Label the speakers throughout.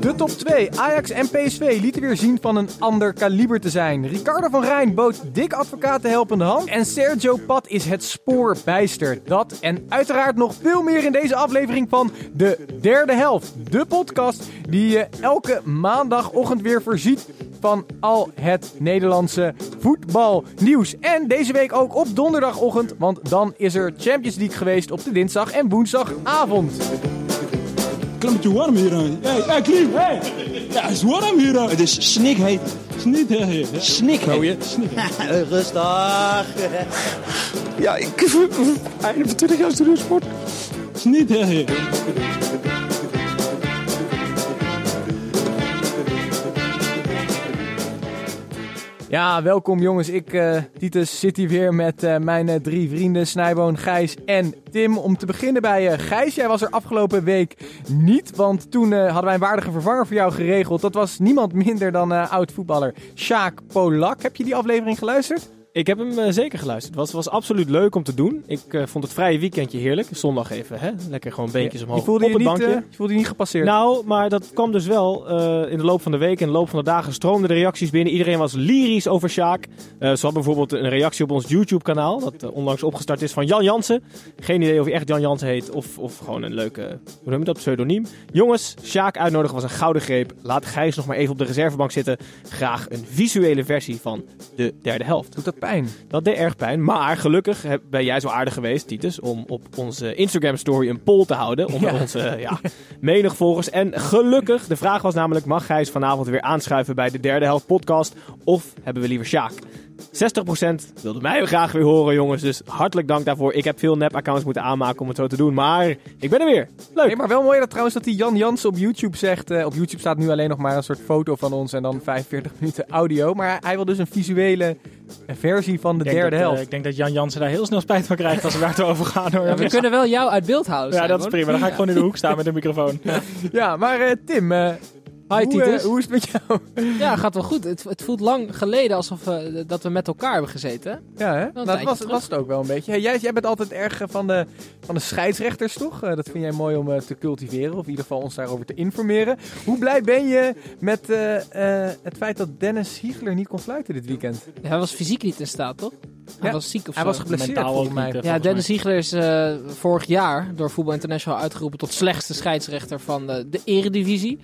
Speaker 1: De top 2, Ajax en PSV, lieten weer zien van een ander kaliber te zijn. Ricardo van Rijn bood dik advocaat de helpende hand. En Sergio Pat is het spoor bijster. Dat en uiteraard nog veel meer in deze aflevering van De Derde Helft. De podcast die je elke maandagochtend weer voorziet van al het Nederlandse voetbalnieuws. En deze week ook op donderdagochtend, want dan is er Champions League geweest op de dinsdag en woensdagavond.
Speaker 2: Klimmetje warm hier aan. Hey, hey, Klim, hey! Ja, het is warm hier aan. Het is snikheet. Snikheet. Snikheet.
Speaker 3: Rustig.
Speaker 2: Ja, ik... Einde van 20 jaar studeersport. Snikheet.
Speaker 1: Ja, welkom jongens. Ik, eh, Titus, zit hier weer met eh, mijn eh, drie vrienden, Snijboon, Gijs en Tim. Om te beginnen bij eh, Gijs. Jij was er afgelopen week niet, want toen eh, hadden wij een waardige vervanger voor jou geregeld. Dat was niemand minder dan eh, oud-voetballer Sjaak Polak. Heb je die aflevering geluisterd?
Speaker 4: Ik heb hem eh, zeker geluisterd. Het was, was absoluut leuk om te doen. Ik eh, vond het vrije weekendje heerlijk. Zondag even, hè? Lekker gewoon beentjes omhoog
Speaker 1: Je voelde
Speaker 4: op
Speaker 1: je,
Speaker 4: het
Speaker 1: niet,
Speaker 4: bankje.
Speaker 1: eh, je voelde je niet gepasseerd.
Speaker 4: nou, maar dat kwam dus wel eh, in de loop van de week en de loop van de dagen stroomden de reacties binnen. Iedereen was lyrisch over Sjaak. Eh zo had bijvoorbeeld een reactie op ons YouTube-kanaal, dat eh, onlangs opgestart is, van Jan Jansen. Geen idee of hij echt Jan Jansen heet of, of gewoon een leuke, hoe noem je dat, pseudoniem. Jongens, Sjaak uitnodigen was een gouden greep. Laat Gijs nog maar even op de reservebank zitten. Graag een visuele versie van de derde helft.
Speaker 1: Doet dat pijn?
Speaker 4: Dat deed erg pijn. Maar gelukkig heb- ben jij zo aardig geweest, Titus, om op onze Instagram-story een poll te houden. Onder
Speaker 1: Ja.
Speaker 4: onze eh, ja, menig volgers. En gelukkig, de vraag was namelijk: mag Gijs vanavond weer aanschuiven bij de derde helft podcast? Of hebben we liever Sjaak? 60% wilde mij graag weer horen, jongens. Dus hartelijk dank daarvoor. Ik heb veel nep-accounts moeten aanmaken om het zo te doen. Maar ik ben er weer. Leuk.
Speaker 1: Nee, maar wel mooi dat trouwens dat die Jan Jansen op YouTube zegt. eh, op YouTube staat nu alleen nog maar een soort foto van ons en dan 45 minuten audio. Maar hij wil dus een visuele eh, versie van de
Speaker 5: Ik denk
Speaker 1: derde
Speaker 5: dat, eh,
Speaker 1: helft.
Speaker 5: ik denk dat Jan Jansen daar heel snel spijt van krijgt als we daar te over gaan. Hoor. Ja,
Speaker 6: Ja, we kunnen wel jou uit beeld houden.
Speaker 5: dat is
Speaker 6: Simon.
Speaker 5: prima. Dan ga ik
Speaker 6: Ja.
Speaker 5: gewoon in de hoek staan met een microfoon.
Speaker 1: Ja, maar eh, Tim, eh,
Speaker 6: Hi
Speaker 1: hoe, eh,
Speaker 6: Titus.
Speaker 1: hoe is het met jou?
Speaker 6: Ja, gaat wel goed. Het, het voelt lang geleden alsof we, dat we met elkaar hebben gezeten.
Speaker 1: Ja, hè? Nou, dat
Speaker 6: tijdje
Speaker 1: was,
Speaker 6: terug.
Speaker 1: was het ook wel een beetje. Hey, jij, jij bent altijd erg eh, van de, van de scheidsrechters, toch? Eh, dat vind jij mooi om eh, te cultiveren, of in ieder geval ons daarover te informeren. Hoe blij ben je met eh, eh, het feit dat Dennis Hiegler niet kon fluiten dit weekend?
Speaker 6: Ja, hij was fysiek niet in staat, toch? Hij
Speaker 1: Ja,
Speaker 6: was ziek of
Speaker 1: Hij
Speaker 6: zo.
Speaker 1: was geblesseerd,
Speaker 5: Mentaal
Speaker 1: volgens
Speaker 5: ook
Speaker 1: mij.
Speaker 5: niet, eh,
Speaker 6: ja,
Speaker 5: volgens
Speaker 6: Dennis Ziegler is eh, vorig jaar door Voetbal International uitgeroepen tot slechtste scheidsrechter van eh, de eredivisie.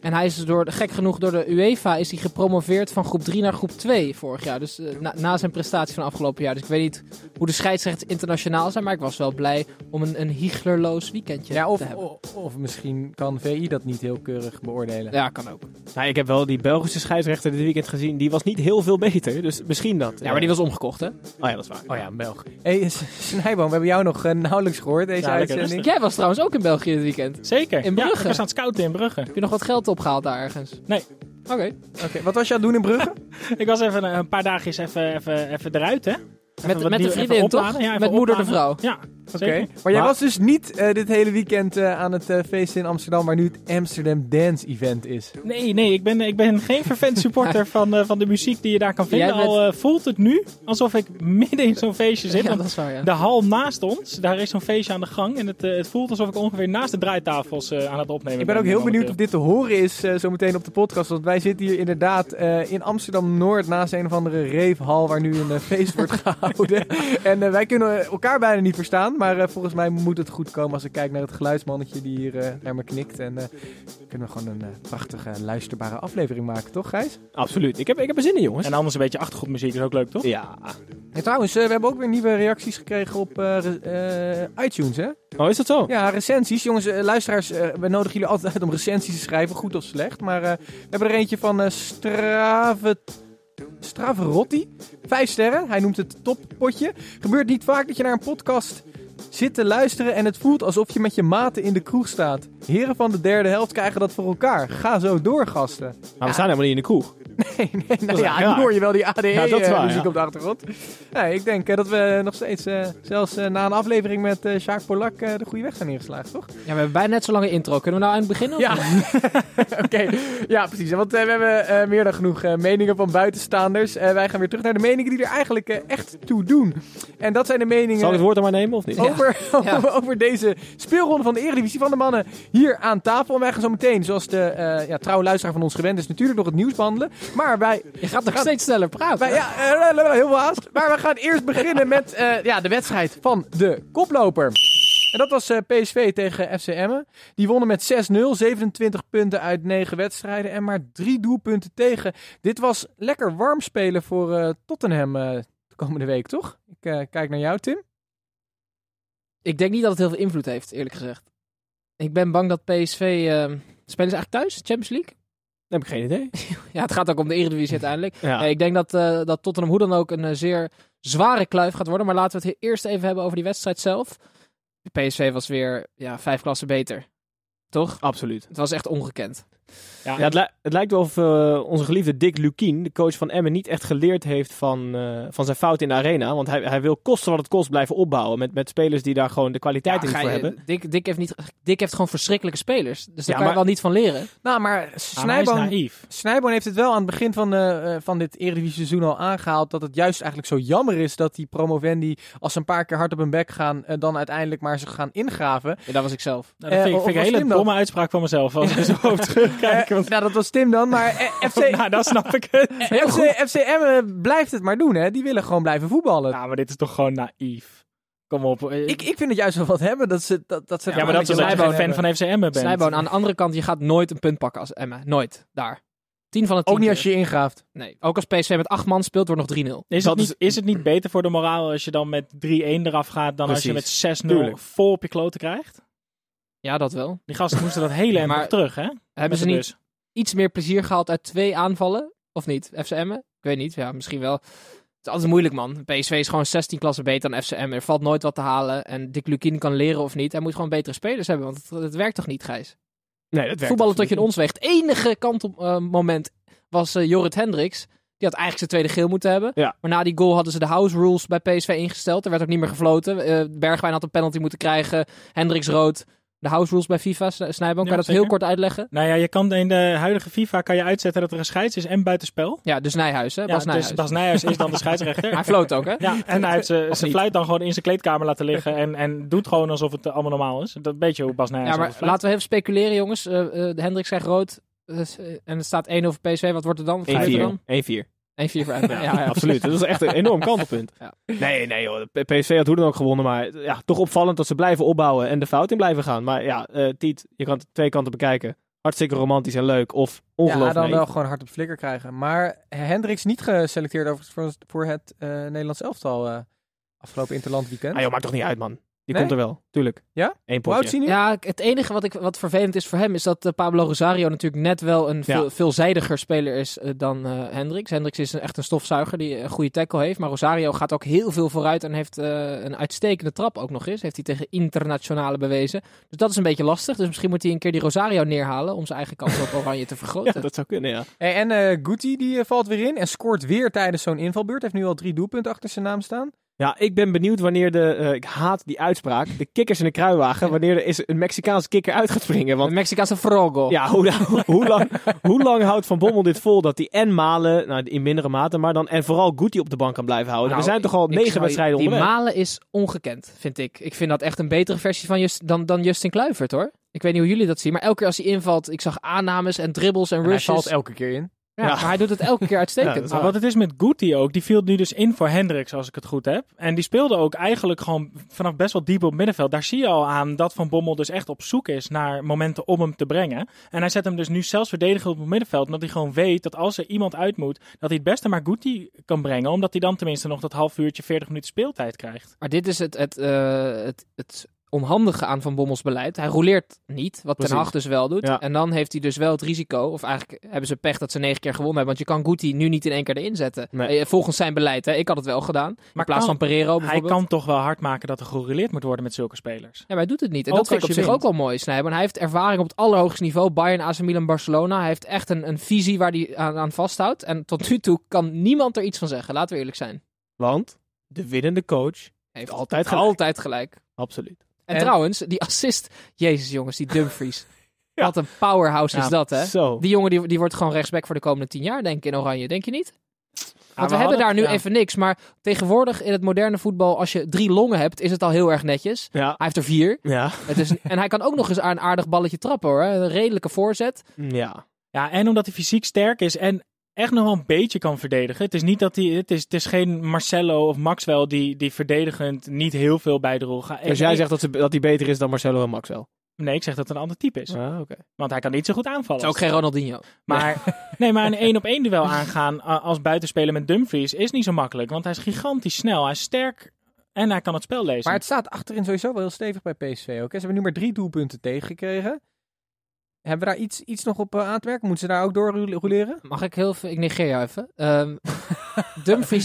Speaker 6: En hij is dus door, gek genoeg door de UEFA is hij gepromoveerd van groep 3 naar groep 2 vorig jaar. Dus eh, na, na zijn prestatie van afgelopen jaar. Dus ik weet niet hoe de scheidsrechters internationaal zijn, maar ik was wel blij om een, een Hieglerloos weekendje
Speaker 1: Ja,
Speaker 6: te
Speaker 1: of,
Speaker 6: hebben.
Speaker 1: o- of misschien kan VI dat niet heel keurig beoordelen.
Speaker 6: Ja, kan ook.
Speaker 4: Nou, ik heb wel die Belgische scheidsrechter dit weekend gezien. Die was niet heel veel beter. Dus misschien dat.
Speaker 6: Ja, maar die was omgekocht, hè?
Speaker 4: Oh ja, dat is waar.
Speaker 1: Oh ja, een Belg. hey, S- Snijboom, we hebben jou nog eh, nauwelijks gehoord deze
Speaker 5: Ja, lekker
Speaker 1: uitzending.
Speaker 6: Jij was trouwens ook in België dit weekend.
Speaker 5: Zeker.
Speaker 6: In Brugge.
Speaker 5: Ja, we staan scouten in Brugge.
Speaker 6: Heb je nog wat geld opgehaald daar ergens?
Speaker 5: Nee.
Speaker 6: Oké.
Speaker 1: Oké, wat was je aan het doen in Brugge?
Speaker 5: Ik was even eh, een paar dagjes even, even, even eruit, hè. Even
Speaker 6: Met,
Speaker 5: wat
Speaker 6: met
Speaker 5: nieuw-
Speaker 6: de
Speaker 5: even
Speaker 6: vriendin,
Speaker 5: opladen.
Speaker 6: toch?
Speaker 5: Ja, even
Speaker 6: met moeder de
Speaker 5: opladen.
Speaker 6: vrouw.
Speaker 5: Ja,
Speaker 1: Oké,
Speaker 5: zeker.
Speaker 1: maar, jij was dus niet eh, dit hele weekend eh, aan het eh, feesten in Amsterdam, waar nu het Amsterdam Dance Event is.
Speaker 5: Nee, nee, ik ben, ik ben geen vervent supporter van, eh, van de muziek die je daar kan vinden.
Speaker 6: Jij bent-
Speaker 5: Al eh, voelt het nu alsof ik midden in zo'n feestje zit.
Speaker 6: Ja,
Speaker 5: want
Speaker 6: dat is waar, ja.
Speaker 5: De hal naast ons, daar is zo'n feestje aan de gang. En het, eh, het voelt alsof ik ongeveer naast de draaitafels eh, aan het opnemen ben.
Speaker 1: Ik ben ook heel benieuwd
Speaker 5: momenteel.
Speaker 1: of dit te horen is eh, zometeen op de podcast. Want wij zitten hier inderdaad eh, in Amsterdam-Noord naast een of andere reefhal waar nu een eh, feest wordt gehouden. En eh, wij kunnen elkaar bijna niet verstaan. Maar eh, volgens mij moet het goed komen als ik kijk naar het geluidsmannetje die hier eh, naar me knikt. En eh, kunnen we gewoon een eh, prachtige luisterbare aflevering maken, toch Gijs?
Speaker 4: Absoluut. Ik heb, ik heb er zin in, jongens.
Speaker 5: En anders een beetje achtergrondmuziek is ook leuk, toch?
Speaker 4: Ja.
Speaker 1: En trouwens, eh, we hebben ook weer nieuwe reacties gekregen op eh, re- eh, iTunes hè?
Speaker 4: Oh, is dat zo?
Speaker 1: Ja, recensies. Jongens, eh, luisteraars, eh, we nodigen jullie altijd uit om recensies te schrijven, goed of slecht. Maar eh, we hebben er eentje van eh Straven Straverotti. Vijf sterren, hij noemt het toppotje. Gebeurt niet vaak dat je naar een podcast zit te luisteren en het voelt alsof je met je maten in de kroeg staat. Heren van de derde helft krijgen dat voor elkaar. Ga zo door, gasten.
Speaker 4: Maar Nou, we staan helemaal niet in de kroeg.
Speaker 1: Nee, nee, nou
Speaker 4: is
Speaker 1: ja,
Speaker 4: echt
Speaker 1: nu
Speaker 4: raar.
Speaker 1: hoor je wel die ADE
Speaker 4: Ja, dat is
Speaker 1: eh,
Speaker 4: waar,
Speaker 1: muziek
Speaker 4: ja.
Speaker 1: op de achtergrond. Nee, ik denk eh, dat we nog steeds, eh, zelfs eh, na een aflevering met eh Jacques Polak, eh, de goede weg zijn ingeslagen, toch?
Speaker 6: Ja, we hebben bijna net zo lange intro. Kunnen we nou aan het begin? of
Speaker 1: Ja,
Speaker 6: niet?
Speaker 1: oké. Ja, precies. Want eh, we hebben eh, meer dan genoeg eh, meningen van buitenstaanders. Eh, wij gaan weer terug naar de meningen die er eigenlijk eh, echt toe doen. En dat zijn de meningen...
Speaker 4: Zal ik het woord dan maar nemen of niet?
Speaker 6: Ja.
Speaker 1: Over,
Speaker 6: Ja.
Speaker 1: over, over deze speelronde van de Eredivisie van de mannen hier aan tafel. En wij gaan zo meteen, zoals de eh, ja, trouwe luisteraar van ons gewend is, natuurlijk nog het nieuws behandelen. Maar wij
Speaker 6: Je gaat nog steeds sneller praten.
Speaker 1: maar ja, eh, eh, eh, heel veel haast. Maar we gaan eerst beginnen met eh, ja, de wedstrijd van de koploper. En dat was eh, PSV tegen FC Emmen. Die wonnen met 6-0, 27 punten uit 9 wedstrijden en maar 3 doelpunten tegen. Dit was lekker warm spelen voor eh, Tottenham eh, de komende week, toch? Ik eh, kijk naar jou, Tim.
Speaker 6: Ik denk niet dat het heel veel invloed heeft, eerlijk gezegd. Ik ben bang dat PSV... eh, spelen ze eigenlijk thuis, Champions League?
Speaker 4: Dan heb ik geen idee.
Speaker 6: Ja, het gaat ook om de Eredivisie uiteindelijk.
Speaker 4: Ja.
Speaker 6: Nee, ik denk dat, eh, dat Tottenham hoe dan ook een eh, zeer zware kluif gaat worden. Maar laten we het he- eerst even hebben over die wedstrijd zelf. De PSV was weer ja, vijf klassen beter. Toch?
Speaker 4: Absoluut.
Speaker 6: Het was echt ongekend.
Speaker 4: Ja, het, li- het lijkt wel of eh, onze geliefde Dick Lukien, de coach van Emmen, niet echt geleerd heeft van, eh, van zijn fout in de arena. Want hij, hij wil kosten wat het kost blijven opbouwen met, met spelers die daar gewoon de kwaliteit
Speaker 6: Ja,
Speaker 4: in
Speaker 6: ga
Speaker 4: voor
Speaker 6: je-
Speaker 4: hebben.
Speaker 6: Dick, Dick, heeft niet, Dick heeft gewoon verschrikkelijke spelers. Dus daar kan
Speaker 4: maar-
Speaker 6: je wel niet van leren.
Speaker 1: Nou, maar
Speaker 5: Ah, maar hij is
Speaker 1: Snijboon,
Speaker 5: naïef.
Speaker 1: Snijboon heeft het wel aan het begin van, eh, eh, van dit Eredivisie-seizoen al aangehaald. Dat het juist eigenlijk zo jammer is dat die promovendi, als ze een paar keer hard op hun bek gaan, eh, dan uiteindelijk maar ze gaan ingraven.
Speaker 6: Ja, dat was ik zelf.
Speaker 5: Nou, dat
Speaker 1: Eh,
Speaker 5: vind ik,
Speaker 1: of
Speaker 5: vind
Speaker 1: was
Speaker 5: ik een hele
Speaker 1: Tim dat?
Speaker 5: domme uitspraak van mezelf als ik zo op terugkijk.
Speaker 1: Eh,
Speaker 5: Want,
Speaker 1: nou, dat was Tim dan, maar eh, FC,
Speaker 5: nou, dan snap ik het.
Speaker 1: eh, FC, FCM blijft het maar doen, hè. Die willen gewoon blijven voetballen.
Speaker 5: Nou, maar dit is toch gewoon naïef. Kom op. eh,
Speaker 1: ik, ik vind het juist wel wat hebben dat ze dat, dat ze
Speaker 5: ja, maar dat is
Speaker 1: een
Speaker 5: omdat je
Speaker 1: beetje
Speaker 5: geen
Speaker 1: lijboon
Speaker 5: fan
Speaker 1: hebben.
Speaker 5: van FCM bent.
Speaker 6: Snijboon, aan de andere kant, je gaat nooit een punt pakken als Emma. Nooit. Daar. 10 van de 10
Speaker 1: Ook niet als je je ingraaft.
Speaker 6: Nee. Ook als PSV met acht man speelt, wordt nog 3-0.
Speaker 5: Is
Speaker 4: Dat
Speaker 5: het, niet, is het niet beter voor de moraal als je dan met 3-1 eraf gaat dan als
Speaker 4: Precies.
Speaker 5: je met 6-0
Speaker 4: Tuurlijk.
Speaker 5: vol op je kloten krijgt?
Speaker 6: Ja, dat wel.
Speaker 5: Die gasten moesten dat hele eind
Speaker 6: Maar
Speaker 5: nog terug, hè?
Speaker 6: Hebben
Speaker 5: Met
Speaker 6: ze
Speaker 5: de
Speaker 6: niet
Speaker 5: bus.
Speaker 6: iets meer plezier gehaald uit twee aanvallen? Of niet? FCM'en? Ik weet niet. Ja, misschien wel. Het is altijd moeilijk, man. PSV is gewoon 16 klassen beter dan FCM. Er valt nooit wat te halen. En Dick Lukien kan leren of niet. Hij moet gewoon betere spelers hebben, want het, het werkt toch niet, Gijs?
Speaker 4: Nee, dat werkt
Speaker 6: Voetballen tot je
Speaker 4: absoluut
Speaker 6: in ons weegt. Enige kant op eh, moment was eh, Jorrit Hendricks. Die had eigenlijk zijn tweede geel moeten hebben.
Speaker 4: Ja.
Speaker 6: Maar na die goal hadden ze de house rules bij PSV ingesteld. Er werd ook niet meer gefloten. Eh, Bergwijn had een penalty moeten krijgen. Hendricks rood. De house rules bij FIFA. Snijboom, kan je
Speaker 5: Ja,
Speaker 6: dat
Speaker 5: zeker.
Speaker 6: heel kort uitleggen?
Speaker 5: Nou ja, je kan in de huidige FIFA kan je uitzetten dat er een scheids is en buitenspel.
Speaker 6: Ja, dus Nijhuis, hè?
Speaker 5: Ja,
Speaker 6: Bas Nijhuis.
Speaker 5: dus Bas Nijhuis is dan de scheidsrechter.
Speaker 6: Hij floot ook, hè?
Speaker 5: Ja, en hij heeft ze- zijn
Speaker 6: niet?
Speaker 5: fluit dan gewoon in zijn kleedkamer laten liggen en, en doet gewoon alsof het eh, allemaal normaal is. Dat weet je hoe Bas Nijhuis
Speaker 6: Ja, maar
Speaker 5: altijd fluit.
Speaker 6: laten we even speculeren, jongens. Eh eh, Hendrik zegt rood. Dus, eh, en het staat 1-0 voor PSV. Wat wordt er dan? Wat gebeurt er dan?
Speaker 4: 1-4. 1-4.
Speaker 6: 1-4 voor Emmen. Ja, ja,
Speaker 4: Absoluut. Dat is echt een enorm kantelpunt.
Speaker 6: Ja.
Speaker 4: Nee, nee joh. De PSV had hoe dan ook gewonnen. Maar ja, toch opvallend dat ze blijven opbouwen en de fout in blijven gaan. Maar ja, eh, Tiet, je kan het twee kanten bekijken. Hartstikke romantisch en leuk. Of
Speaker 1: Ja,
Speaker 4: ongelooflijk.
Speaker 1: dan
Speaker 4: naïef.
Speaker 1: wel gewoon hard op flikker krijgen. Maar Hendricks niet geselecteerd overigens voor, voor het eh, Nederlands elftal eh, afgelopen Interland weekend.
Speaker 4: Ah joh, maakt toch niet uit man. Die
Speaker 1: Nee?
Speaker 4: komt er wel. Tuurlijk.
Speaker 1: Ja?
Speaker 4: Eén
Speaker 1: Hoe oud is
Speaker 4: potje.
Speaker 1: hij nu?
Speaker 6: Ja, het enige wat, ik, wat vervelend is voor hem is dat eh, Pablo Rosario natuurlijk net wel een veel,
Speaker 4: Ja.
Speaker 6: veelzijdiger speler is eh, dan eh Hendricks. Hendricks is een- echt een stofzuiger die een goede tackle heeft. Maar Rosario gaat ook heel veel vooruit en heeft eh, een uitstekende trap ook nog eens. Heeft hij tegen internationale bewezen. Dus dat is een beetje lastig. Dus misschien moet hij een keer die Rosario neerhalen om zijn eigen kans op Oranje te vergroten.
Speaker 4: Ja, dat zou kunnen, ja.
Speaker 1: Hey, en eh Guti die eh, valt weer in en scoort weer tijdens zo'n invalbeurt. Heeft nu al drie doelpunten achter zijn naam staan.
Speaker 4: Ja, ik ben benieuwd wanneer de... eh, ik haat die uitspraak. De kikkers in de kruiwagen. Wanneer er is een Mexicaanse kikker uit gaat springen. Want
Speaker 6: Een Mexicaanse frogo.
Speaker 4: Ja, hoe, lang- hoe, lang, hoe lang houdt Van Bommel dit vol dat hij en Malen, nou, in mindere mate, maar dan en vooral Guti op de bank kan blijven houden?
Speaker 6: Nou,
Speaker 4: We zijn toch al
Speaker 6: ik
Speaker 4: negen
Speaker 6: zou-
Speaker 4: wedstrijden
Speaker 6: Die
Speaker 4: onderweg.
Speaker 6: Malen is ongekend, vind ik. Ik vind dat echt een betere versie van Just, dan, dan Justin Kluivert, hoor. Ik weet niet hoe jullie dat zien, maar elke keer als hij invalt, ik zag aannames en dribbles en
Speaker 1: En hij
Speaker 6: rushes.
Speaker 1: valt elke keer in.
Speaker 6: ja,
Speaker 4: ja.
Speaker 6: Maar hij doet het elke keer
Speaker 4: Ja, dat
Speaker 6: uitstekend.
Speaker 4: is
Speaker 5: Maar wat het is met Guti ook, die viel nu dus in voor Hendricks, als ik het goed heb. En die speelde ook eigenlijk gewoon vanaf best wel diep op middenveld. Daar zie je al aan dat Van Bommel dus echt op zoek is naar momenten om hem te brengen. En hij zet hem dus nu zelfs verdedigen op het middenveld, omdat hij gewoon weet dat als er iemand uit moet, dat hij het beste maar Guti kan brengen. Omdat hij dan tenminste nog dat half uurtje, 40 minuten speeltijd krijgt.
Speaker 6: Maar dit is het, het, eh, het, het onhandige aan Van Bommels beleid. Hij roleert niet, wat Ten
Speaker 4: Precies.
Speaker 6: Hag dus wel doet.
Speaker 4: Ja.
Speaker 6: En dan heeft hij dus wel het risico, of eigenlijk hebben ze pech dat ze negen keer gewonnen hebben. Want je kan Guti nu niet in één keer erin zetten.
Speaker 4: Nee.
Speaker 6: Eh, Volgens zijn beleid, hè. ik had het wel gedaan.
Speaker 5: Maar
Speaker 6: in plaats
Speaker 5: kan-
Speaker 6: van Pereiro
Speaker 5: Hij
Speaker 6: bijvoorbeeld.
Speaker 5: kan toch wel hard maken dat er geroleerd moet worden met zulke spelers.
Speaker 6: Ja, maar hij doet het niet. En
Speaker 5: Ook
Speaker 6: dat vind ik
Speaker 5: als
Speaker 6: op
Speaker 5: je
Speaker 6: zich ook
Speaker 5: wint.
Speaker 6: wel mooi, Snijboon. Hij heeft ervaring op het allerhoogste niveau. Bayern, AC Milan, Barcelona. Hij heeft echt een, een visie waar hij aan, aan vasthoudt. En tot nu toe kan niemand er iets van zeggen. Laten we eerlijk zijn.
Speaker 4: Want de winnende coach
Speaker 6: Hij heeft
Speaker 4: altijd gelijk.
Speaker 6: Altijd gelijk.
Speaker 4: Absoluut.
Speaker 6: En,
Speaker 4: En-
Speaker 6: trouwens, die assist. Jezus jongens, die Dumfries. Wat een powerhouse is
Speaker 5: Ja,
Speaker 6: dat, hè?
Speaker 4: Zo.
Speaker 6: Die jongen die, die wordt gewoon rechtsback voor de komende tien jaar, denk ik, in Oranje. Denk je niet?
Speaker 5: Maar Ah,
Speaker 6: Want
Speaker 5: we
Speaker 6: we hebben
Speaker 5: hadden-
Speaker 6: daar nu
Speaker 5: ja.
Speaker 6: even niks. Maar tegenwoordig in het moderne voetbal, als je drie longen hebt, is het al heel erg netjes.
Speaker 4: Ja.
Speaker 6: Hij heeft er vier.
Speaker 4: Ja.
Speaker 6: Het is een- en hij kan ook nog eens aan een aardig balletje trappen hoor. Een redelijke voorzet.
Speaker 4: Ja.
Speaker 5: Ja, en omdat hij fysiek sterk is en echt nog wel een beetje kan verdedigen. Het is niet dat hij. Het is, het is geen Marcelo of Maxwell die, die verdedigend niet heel veel bijdroeg.
Speaker 4: Dus jij zegt dat, ze, dat die beter is dan Marcelo en Maxwell.
Speaker 5: Nee, ik zeg dat het een ander type is.
Speaker 4: Ah, oké.
Speaker 5: Want hij kan niet zo goed
Speaker 6: Het
Speaker 5: aanvallen.
Speaker 6: is ook geen Ronaldinho.
Speaker 5: Maar, nee, maar een één op één duel aangaan a- als buitenspeler met Dumfries is niet zo makkelijk. Want hij is gigantisch snel, hij is sterk en hij kan het spel lezen.
Speaker 1: Maar het staat achterin sowieso wel heel stevig bij PSV ook. Hè? Ze hebben nu maar drie doelpunten tegengekregen. Hebben we daar iets, iets nog op eh, aan te werken? Moeten ze daar ook door roule- roleren?
Speaker 6: Mag ik heel veel... Ik negeer jou even. Ehm, Dumfries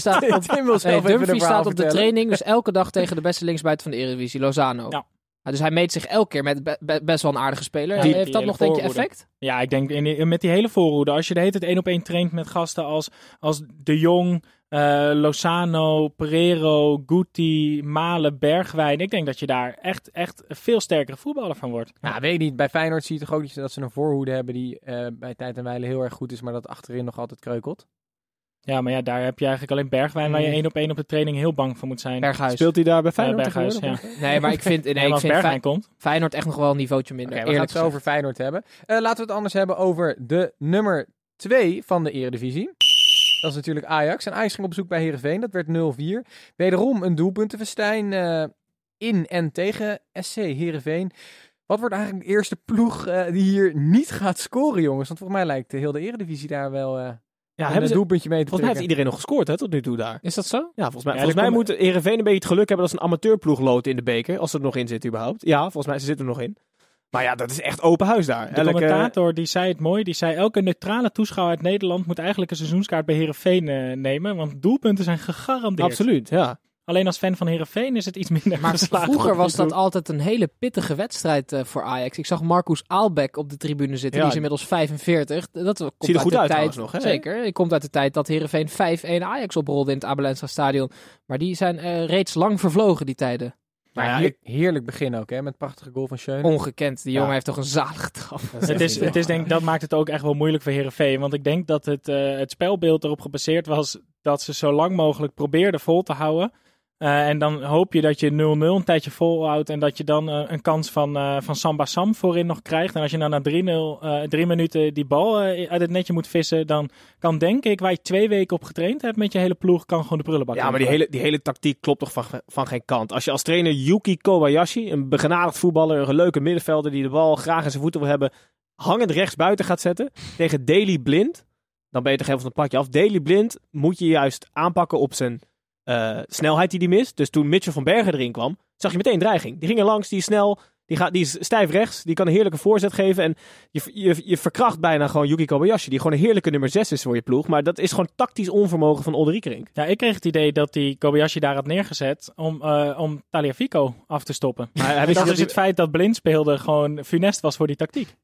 Speaker 6: staat op,
Speaker 1: Tim wil
Speaker 6: nee,
Speaker 1: zelf even
Speaker 6: Dumfries
Speaker 1: verhaal
Speaker 6: staat op de
Speaker 1: vertellen.
Speaker 6: training. Dus elke dag tegen de beste linksbuiten van de Eredivisie, Lozano.
Speaker 5: Ja.
Speaker 6: Ah, dus hij meet zich elke keer met be- be- best wel een aardige speler.
Speaker 5: Ja,
Speaker 6: En
Speaker 5: die-
Speaker 6: Heeft dat
Speaker 5: die
Speaker 6: nog,
Speaker 5: hele
Speaker 6: denk je,
Speaker 5: voorhoede.
Speaker 6: effect?
Speaker 5: Ja, ik denk in, in- met die hele voorhoede. Als je de hele tijd één op één traint met gasten als, als De Jong, eh, Lozano, Pereiro, Guti, Malen, Bergwijn. Ik denk dat je daar echt, echt een veel sterkere voetballer van wordt.
Speaker 1: Ja, Nou, weet ik niet. Bij Feyenoord zie je toch ook dat ze- dat ze een voorhoede hebben die eh, bij tijd en wijle heel erg goed is, maar dat achterin nog altijd kreukelt.
Speaker 5: Ja, maar ja, daar heb je eigenlijk alleen Bergwijn waar je
Speaker 4: Mm.
Speaker 5: één op één op de training heel bang voor moet zijn.
Speaker 6: Berghuis.
Speaker 4: Speelt hij daar bij
Speaker 5: Ja,
Speaker 4: Feyenoord
Speaker 5: Berghuis, ja.
Speaker 4: tegenwoordig?
Speaker 6: Nee, maar ik vind, nee,
Speaker 5: Nee,
Speaker 6: ik
Speaker 5: als
Speaker 6: vind
Speaker 5: Bergwijn
Speaker 6: Fey-
Speaker 5: komt.
Speaker 6: Feyenoord echt nog wel een niveautje
Speaker 1: Oké,
Speaker 6: minder.
Speaker 1: we gaan
Speaker 6: eerlijk
Speaker 1: het zo over
Speaker 6: gezegd.
Speaker 1: Feyenoord hebben. Eh, laten we het anders hebben over de nummer 2 van de Eredivisie. Dat is natuurlijk Ajax. En Ajax ging op bezoek bij Heerenveen. Dat werd 0-4. Wederom een doelpuntenfestijn eh, in en tegen SC Heerenveen. Wat wordt eigenlijk de eerste ploeg eh, die hier niet gaat scoren, jongens? Want volgens mij lijkt de heel de Eredivisie daar wel eh,
Speaker 4: Ja,
Speaker 1: een
Speaker 4: hebben ze,
Speaker 1: doelpuntje mee te
Speaker 4: volgens mij heeft
Speaker 1: trekken.
Speaker 4: iedereen nog gescoord hè, tot nu toe daar.
Speaker 6: Is dat zo? dus
Speaker 4: Ja, volgens mij,
Speaker 5: Ja, er
Speaker 4: volgens mij
Speaker 5: komen-
Speaker 4: moet Heerenveen een beetje het geluk hebben dat ze een amateurploeg loten in de beker. Als ze er nog in zitten überhaupt. Ja, volgens mij ze zitten er nog in. Maar ja, dat is echt open huis daar.
Speaker 5: De commentator die zei het mooi, die zei elke neutrale toeschouwer uit Nederland moet eigenlijk een seizoenskaart bij Herenveen nemen, want doelpunten zijn gegarandeerd.
Speaker 4: absoluut, ja.
Speaker 5: Alleen als fan van Herenveen is het iets minder
Speaker 6: Maar
Speaker 5: geslaagd.
Speaker 6: vroeger
Speaker 5: tot nu
Speaker 6: was dat
Speaker 5: toe.
Speaker 6: altijd een hele pittige wedstrijd eh, voor Ajax. Ik zag Marcus Aalbeck op de tribune zitten.
Speaker 4: Ja.
Speaker 6: die is inmiddels 45. Dat komt
Speaker 4: Ziet er
Speaker 6: uit
Speaker 4: goed
Speaker 6: de
Speaker 4: uit
Speaker 6: tijd.
Speaker 4: trouwens nog, hè?
Speaker 6: Zeker. Het komt uit de tijd dat Heerenveen 5-1 Ajax oprolde in het Abelensa Stadion. Maar die zijn eh, reeds lang vervlogen, die tijden.
Speaker 1: Maar
Speaker 4: Nou ja,
Speaker 1: heer- heerlijk begin ook, hè? Met prachtige goal van Schöne.
Speaker 6: Ongekend. Die jongen
Speaker 4: Ja.
Speaker 6: heeft toch een zalige trap.
Speaker 5: Het is, het is denk, ik- dat maakt het ook echt wel moeilijk voor Herenveen. Want ik denk dat het, eh, het spelbeeld erop gebaseerd was dat ze zo lang mogelijk probeerden vol te houden. Eh, en dan hoop je dat je 0-0 een tijdje volhoudt. En dat je dan eh, een kans van, eh, van Samba Sam voorin nog krijgt. En als je dan na 3-0, eh, drie minuten die bal eh, uit het netje moet vissen. Dan kan denk ik, waar je twee weken op getraind hebt met je hele ploeg, kan gewoon de prullenbak
Speaker 4: Ja, maar die
Speaker 5: in.
Speaker 4: hele, die hele tactiek klopt toch van, van geen kant. Als je als trainer Yuki Kobayashi, een begenadigd voetballer, een leuke middenvelder die de bal graag in zijn voeten wil hebben, hangend rechts buiten gaat zetten tegen Daily Blind, dan ben je toch helemaal van het padje af. Daily Blind moet je juist aanpakken op zijn eh, snelheid die hij mist. Dus toen Mitchell van Bergen erin kwam, zag je meteen dreiging. Die ging er langs, die is snel, die, gaat, die is stijf rechts, die kan een heerlijke voorzet geven. En je, je, je verkracht bijna gewoon Yuki Kobayashi, die gewoon een heerlijke nummer 6 is voor je ploeg. Maar dat is gewoon tactisch onvermogen van Olde Riekerink.
Speaker 5: Ja, ik kreeg het idee dat die Kobayashi daar had neergezet om, eh om Taliafico af te stoppen.
Speaker 4: Maar hij
Speaker 5: En
Speaker 4: wist
Speaker 5: dat
Speaker 4: niet
Speaker 5: is het feit dat Blind speelde gewoon funest was voor die tactiek.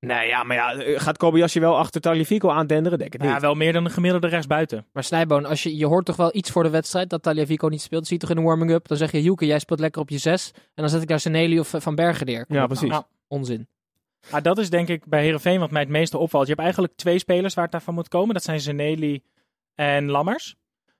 Speaker 4: Nee, ja, maar ja, eh, gaat Kobayashi wel achter Taliafico aandenderen? Denk ik niet.
Speaker 5: Ja, wel meer dan een gemiddelde rechtsbuiten.
Speaker 6: Maar Snijboon, als je, je hoort toch wel iets voor de wedstrijd dat Taliafico niet speelt. Dat zie je toch in de warming-up. Dan zeg je, Joeke, jij speelt lekker op je zes. En dan zet ik daar Seneli of eh, Van Bergen neer.
Speaker 4: ja, precies.
Speaker 5: Nou,
Speaker 6: Onzin.
Speaker 5: Maar Ah, dat is denk ik bij Herenveen wat mij het meeste opvalt. Je hebt eigenlijk twee spelers waar het daarvan moet komen. Dat zijn Zeneli en Lammers.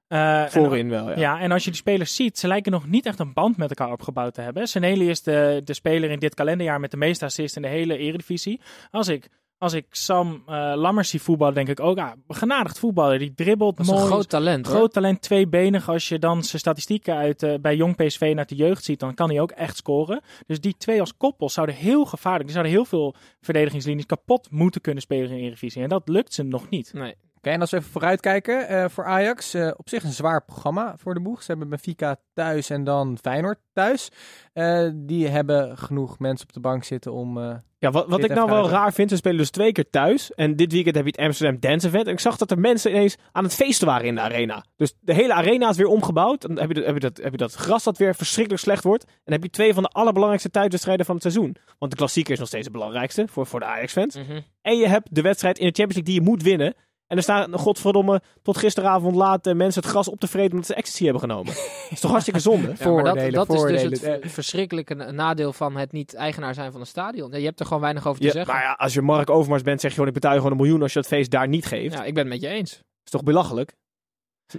Speaker 5: Eh, en-
Speaker 4: Voorin wel, ja.
Speaker 5: ja. en als je die spelers ziet, ze lijken nog niet echt een band met elkaar opgebouwd te hebben. Seneli is de, de speler in dit kalenderjaar met de meeste assists in de hele eredivisie. Als ik, als ik Sam eh, Lammers zie voetballen, denk ik ook, ah, genadigd voetballer. Die dribbelt
Speaker 6: Dat is
Speaker 5: mooi.
Speaker 6: een groot talent, hoor.
Speaker 5: Groot talent, tweebenig. Als je dan zijn statistieken uit, eh, bij jong PSV naar de jeugd ziet, dan kan hij ook echt scoren. Dus die twee als koppel zouden heel gevaarlijk. Die zouden heel veel verdedigingslinies kapot moeten kunnen spelen in de Eredivisie. En dat lukt ze nog niet.
Speaker 6: Nee.
Speaker 1: en als we even vooruitkijken eh, voor Ajax. eh, op zich een zwaar programma voor de boeg. Ze hebben Benfica thuis en dan Feyenoord thuis. Eh, die hebben genoeg mensen op de bank zitten om... eh,
Speaker 4: Ja, wat, wat
Speaker 1: Dit
Speaker 4: ik nou
Speaker 1: even
Speaker 4: wel
Speaker 1: uit.
Speaker 4: raar vind, ze spelen dus twee keer thuis. En dit weekend heb je het Amsterdam Dance Event. En ik zag dat er mensen ineens aan het feesten waren in de arena. Dus de hele arena is weer omgebouwd. En dan heb je, dat- heb je, dat, heb je dat gras dat weer verschrikkelijk slecht wordt. En dan heb je twee van de allerbelangrijkste thuiswedstrijden van het seizoen. Want de klassieker is nog steeds het belangrijkste voor, voor de Ajax-fans.
Speaker 6: Mhm.
Speaker 4: En je hebt de wedstrijd in de Champions League die je moet winnen. En er staan, godverdomme, tot gisteravond laat eh, mensen het gras op te vreten omdat ze ecstasy hebben genomen. dat is toch hartstikke zonde?
Speaker 6: Ja, maar dat,
Speaker 1: Voordelen,
Speaker 6: dat is dus het
Speaker 1: voordelen. Eh,
Speaker 6: ver- verschrikkelijke na- nadeel van het niet eigenaar zijn van een stadion. Ja, je hebt er gewoon weinig over te
Speaker 4: Ja,
Speaker 6: zeggen.
Speaker 4: maar ja, als je Mark Overmars bent, zeg je gewoon, ik betaal je gewoon een miljoen als je dat feest daar niet geeft.
Speaker 6: Ja, ik ben het met je eens.
Speaker 4: is toch belachelijk?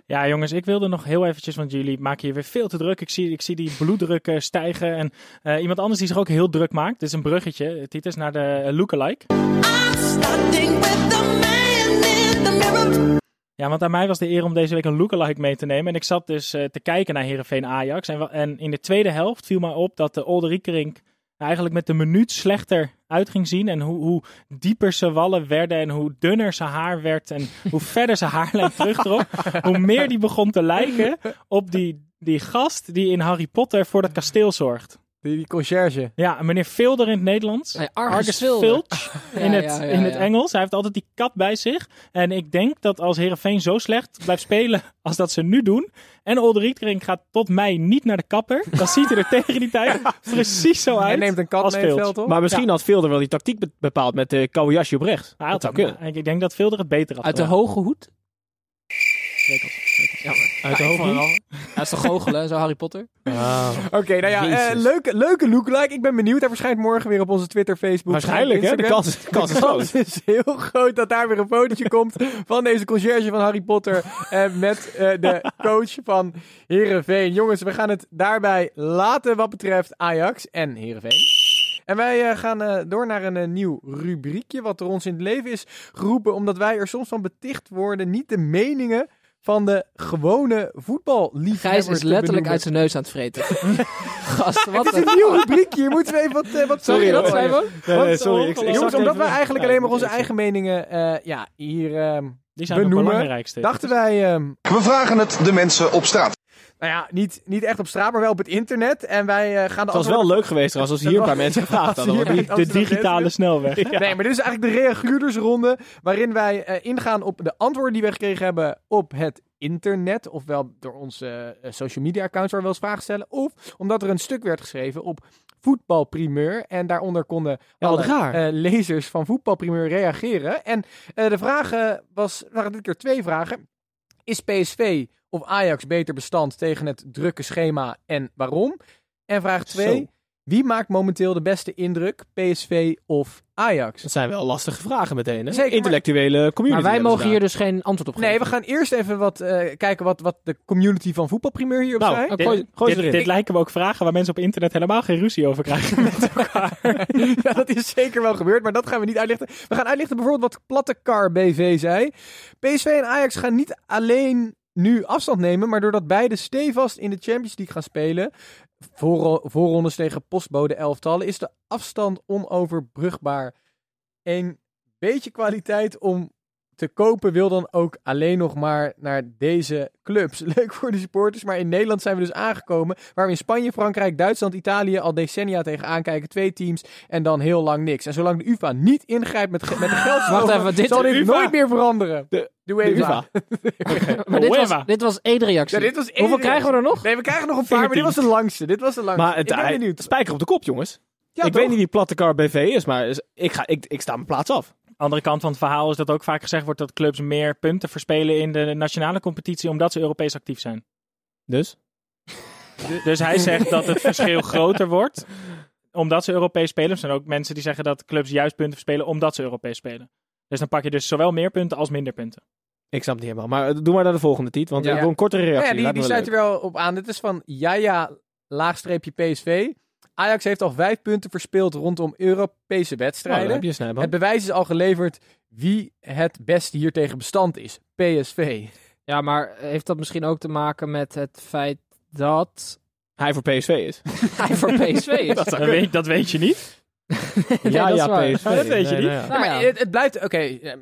Speaker 5: Ja, jongens, ik wilde nog heel eventjes, want jullie maken hier weer veel te druk. Ik zie, ik zie die bloeddruk eh, stijgen. En eh, iemand anders die zich ook heel druk maakt. Dit is een bruggetje, eh, Titus, naar de eh, lookalike.
Speaker 7: Starting with the man in the mirror.
Speaker 5: Ja, want aan mij was de eer om deze week een lookalike mee te nemen. En ik zat dus eh, te kijken naar Herenveen Ajax. En, wa- en in de tweede helft viel mij op dat de Olde Riekerink eigenlijk met de minuut slechter uit ging zien. En hoe, hoe dieper ze wallen werden en hoe dunner ze haar werd. En hoe verder ze haarlijn terugtrok. hoe meer die begon te lijken op die, die gast die in Harry Potter voor dat kasteel zorgt.
Speaker 1: die, die conciërge.
Speaker 5: Ja, meneer Vilder in het Nederlands.
Speaker 6: Nee,
Speaker 5: Argus
Speaker 6: Filder.
Speaker 5: Filch in
Speaker 6: Ja,
Speaker 5: het,
Speaker 6: ja, ja,
Speaker 5: in het
Speaker 6: ja.
Speaker 5: Engels. Hij heeft altijd die kat bij zich. En ik denk dat als Herenveen zo slecht blijft spelen als dat ze nu doen. En Olderikering gaat tot mei niet naar de kapper. Dan ziet hij er tegen die tijd precies zo uit.
Speaker 1: Hij neemt een kat
Speaker 5: als
Speaker 1: mee het
Speaker 5: Filch.
Speaker 1: veld op.
Speaker 4: Maar misschien had Vilder wel die tactiek be- bepaald met de Kobayashi op rechts.
Speaker 5: Hij
Speaker 4: dat
Speaker 5: had
Speaker 4: zou
Speaker 5: hem.
Speaker 4: kunnen.
Speaker 5: Ik- Ik denk Nou, dat Vilder het beter had
Speaker 6: Uit de
Speaker 5: gedaan.
Speaker 6: hoge hoed.
Speaker 4: Uit de hoofd.
Speaker 6: Ik vond het wel- Ja, Dat is toch goochelen, hè, zo Harry Potter?
Speaker 1: Oké, nou ja, eh,
Speaker 4: Jezus.
Speaker 1: leuke, leuke lookalike. Ik ben benieuwd. Hij verschijnt morgen weer op onze Twitter, Facebook.
Speaker 4: Waarschijnlijk, hè? De
Speaker 1: Instagram.
Speaker 4: kans, de kans is
Speaker 1: de kans
Speaker 4: groot.
Speaker 1: is heel groot dat daar weer een fotootje komt van deze conciërge van Harry Potter eh, met eh, de coach van Herenveen. Jongens, we gaan het daarbij laten wat betreft Ajax en Herenveen. En wij eh, gaan eh, door naar een eh, nieuw rubriekje wat door ons in het leven is geroepen, omdat wij er soms van beticht worden niet de meningen van de gewone voetballiefhebbers
Speaker 6: Gijs is
Speaker 1: te
Speaker 6: letterlijk
Speaker 1: benoemen.
Speaker 6: uit zijn neus aan het vreten. Gast, wat
Speaker 1: Het is een nieuw rubriekje, hier moeten we even wat, eh, wat
Speaker 6: Sorry,
Speaker 1: voor-
Speaker 6: dat zijn we.
Speaker 4: Nee, nee,
Speaker 5: Wat
Speaker 4: sorry, ik,
Speaker 5: ongelooflijk.
Speaker 4: ik
Speaker 1: Jongens,
Speaker 4: zag
Speaker 1: omdat
Speaker 4: even-
Speaker 1: wij eigenlijk alleen maar onze
Speaker 4: Ja,
Speaker 1: eigen meningen eh, ja, hier ehm,
Speaker 5: Die zijn de
Speaker 1: benoemen.
Speaker 5: belangrijkste.
Speaker 1: dachten wij... ehm,
Speaker 8: We vragen het de mensen op straat.
Speaker 1: nou ja, niet, niet echt op straat, maar wel op het internet. En wij eh, gaan de
Speaker 4: Het was wel leuk geweest trouwens als hier een paar mensen gevraagd hadden.
Speaker 1: hier-
Speaker 4: hoor.
Speaker 5: Die- De
Speaker 1: Amsterdam
Speaker 5: digitale
Speaker 1: West.
Speaker 5: snelweg.
Speaker 1: Nee, maar dit is eigenlijk de reaguurdersronde waarin wij eh, ingaan op de antwoorden die we gekregen hebben op het internet. Ofwel door onze eh, social media accounts waar we wel eens vragen stellen. Of omdat er een stuk werd geschreven op voetbalprimeur. En daaronder konden
Speaker 4: Ja, wat
Speaker 1: alle
Speaker 4: raar.
Speaker 1: eh, lezers van voetbalprimeur reageren. En eh, de vragen was, waren dit keer twee vragen. Is PSV of Ajax beter bestand tegen het drukke schema en waarom? En vraag twee.
Speaker 4: Zo.
Speaker 1: Wie maakt momenteel de beste indruk, PSV of Ajax?
Speaker 4: Dat zijn wel lastige vragen meteen, hè?
Speaker 1: Zeker, maar-
Speaker 4: Intellectuele community.
Speaker 6: Maar wij
Speaker 4: hebben
Speaker 6: mogen
Speaker 4: ze
Speaker 6: hier
Speaker 4: daar.
Speaker 6: dus geen antwoord op geven.
Speaker 1: Nee, we gaan eerst even wat, eh, kijken wat, wat de community van voetbalprimeur hierop
Speaker 4: Nou,
Speaker 1: zei.
Speaker 6: Oké,
Speaker 5: Dit,
Speaker 6: gooi-
Speaker 4: gooi ze
Speaker 5: dit-
Speaker 4: erin.
Speaker 5: dit lijken me ook vragen waar mensen op internet helemaal geen ruzie over krijgen.
Speaker 1: ja, dat is zeker wel gebeurd, maar dat gaan we niet uitlichten. We gaan uitlichten bijvoorbeeld wat Plattekar BV zei. PSV en Ajax gaan niet alleen nu afstand nemen, maar doordat beide stevast in de Champions League gaan spelen, voor, voorrondes tegen postbode elftallen, is de afstand onoverbrugbaar. Een beetje kwaliteit om te kopen wil dan ook alleen nog maar naar deze clubs. Leuk voor de supporters, maar in Nederland zijn we dus aangekomen... waar we in Spanje, Frankrijk, Duitsland, Italië al decennia tegenaan kijken. Twee teams en dan heel lang niks. En zolang de UEFA niet ingrijpt met, ge- met de geldstromen...
Speaker 6: Wacht even, dit-
Speaker 1: zal dit
Speaker 5: UEFA.
Speaker 1: nooit meer veranderen.
Speaker 4: De-
Speaker 1: de UEFA.
Speaker 6: Maar dit was,
Speaker 5: Uema.
Speaker 6: dit was één reactie.
Speaker 1: Oh, Ja, dit was één
Speaker 6: Hoeveel
Speaker 1: reactie.
Speaker 6: krijgen we er nog?
Speaker 1: Nee, we krijgen nog een paar, maar dit was de langste. Dit was de langste.
Speaker 4: Maar het,
Speaker 1: ik ben
Speaker 4: hij-
Speaker 1: benieuwd.
Speaker 4: spijker op de kop, jongens.
Speaker 1: Ja,
Speaker 4: ik
Speaker 1: toch?
Speaker 4: weet niet wie Plattekar BV is, maar is- ik, ga, ik, ik sta mijn plaats af.
Speaker 5: andere kant van het verhaal is dat ook vaak gezegd wordt dat clubs meer punten verspelen in de nationale competitie omdat ze Europees actief zijn.
Speaker 4: Dus?
Speaker 5: Dus hij zegt dat het verschil groter wordt omdat ze Europees spelen. Er zijn ook mensen die zeggen dat clubs juist punten verspelen omdat ze Europees spelen. Dus dan pak je dus zowel meer punten als minder punten.
Speaker 4: Ik snap het niet helemaal. Maar eh, doe maar naar de volgende tiet, want eh,
Speaker 1: Ja.
Speaker 4: ik wil een kortere
Speaker 1: Ja,
Speaker 4: reactie.
Speaker 1: die,
Speaker 4: Lijkt
Speaker 1: die
Speaker 4: me wel
Speaker 1: sluit er wel op aan. Dit is van Jaja laagstreepje PSV. Ajax heeft al vijf punten verspeeld rondom Europese
Speaker 4: leuk. Nou, daar
Speaker 1: wedstrijden.
Speaker 4: heb je Snijboom.
Speaker 1: het bewijs is al geleverd wie het beste hier tegen bestand is. PSV.
Speaker 6: Ja, maar eh, heeft dat misschien ook te maken met het feit dat
Speaker 4: Hij voor PSV is.
Speaker 6: hij voor PSV is?
Speaker 5: Dat, weet, dat weet je niet.
Speaker 6: Nee,
Speaker 4: ja,
Speaker 6: dat is
Speaker 4: ja,
Speaker 6: waar.
Speaker 4: PSV.
Speaker 5: Maar dat weet je
Speaker 4: Nee,
Speaker 5: niet.
Speaker 4: nou ja.
Speaker 6: Nou
Speaker 1: maar
Speaker 6: ja.
Speaker 1: het, het blijft... Oké, eh,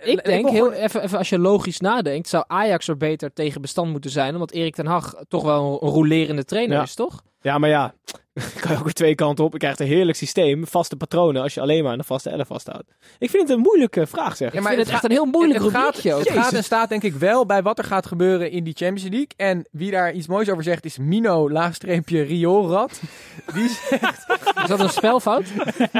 Speaker 6: Ik denk,
Speaker 1: wil
Speaker 6: heel,
Speaker 1: gewoon-
Speaker 6: even, even als je logisch nadenkt, zou Ajax er beter tegen bestand moeten zijn. Omdat Erik ten Hag toch wel een rolerende trainer
Speaker 4: Ja.
Speaker 6: is, toch?
Speaker 4: Ja, maar ja, kan je ook weer twee kanten op. Je krijgt een heerlijk systeem, vaste patronen, als je alleen maar aan de vaste elf vasthoudt. Ik vind het een moeilijke vraag, zeg.
Speaker 6: ik vind het echt een heel moeilijk
Speaker 1: het gaat,
Speaker 6: rubriekje ook.
Speaker 1: het gaat en
Speaker 6: Jezus.
Speaker 1: staat denk ik wel bij wat er gaat gebeuren in die Champions League. En wie daar iets moois over zegt is Mino, laagstreepje, Riolrad. Die zegt,
Speaker 6: Is dat een spelfout?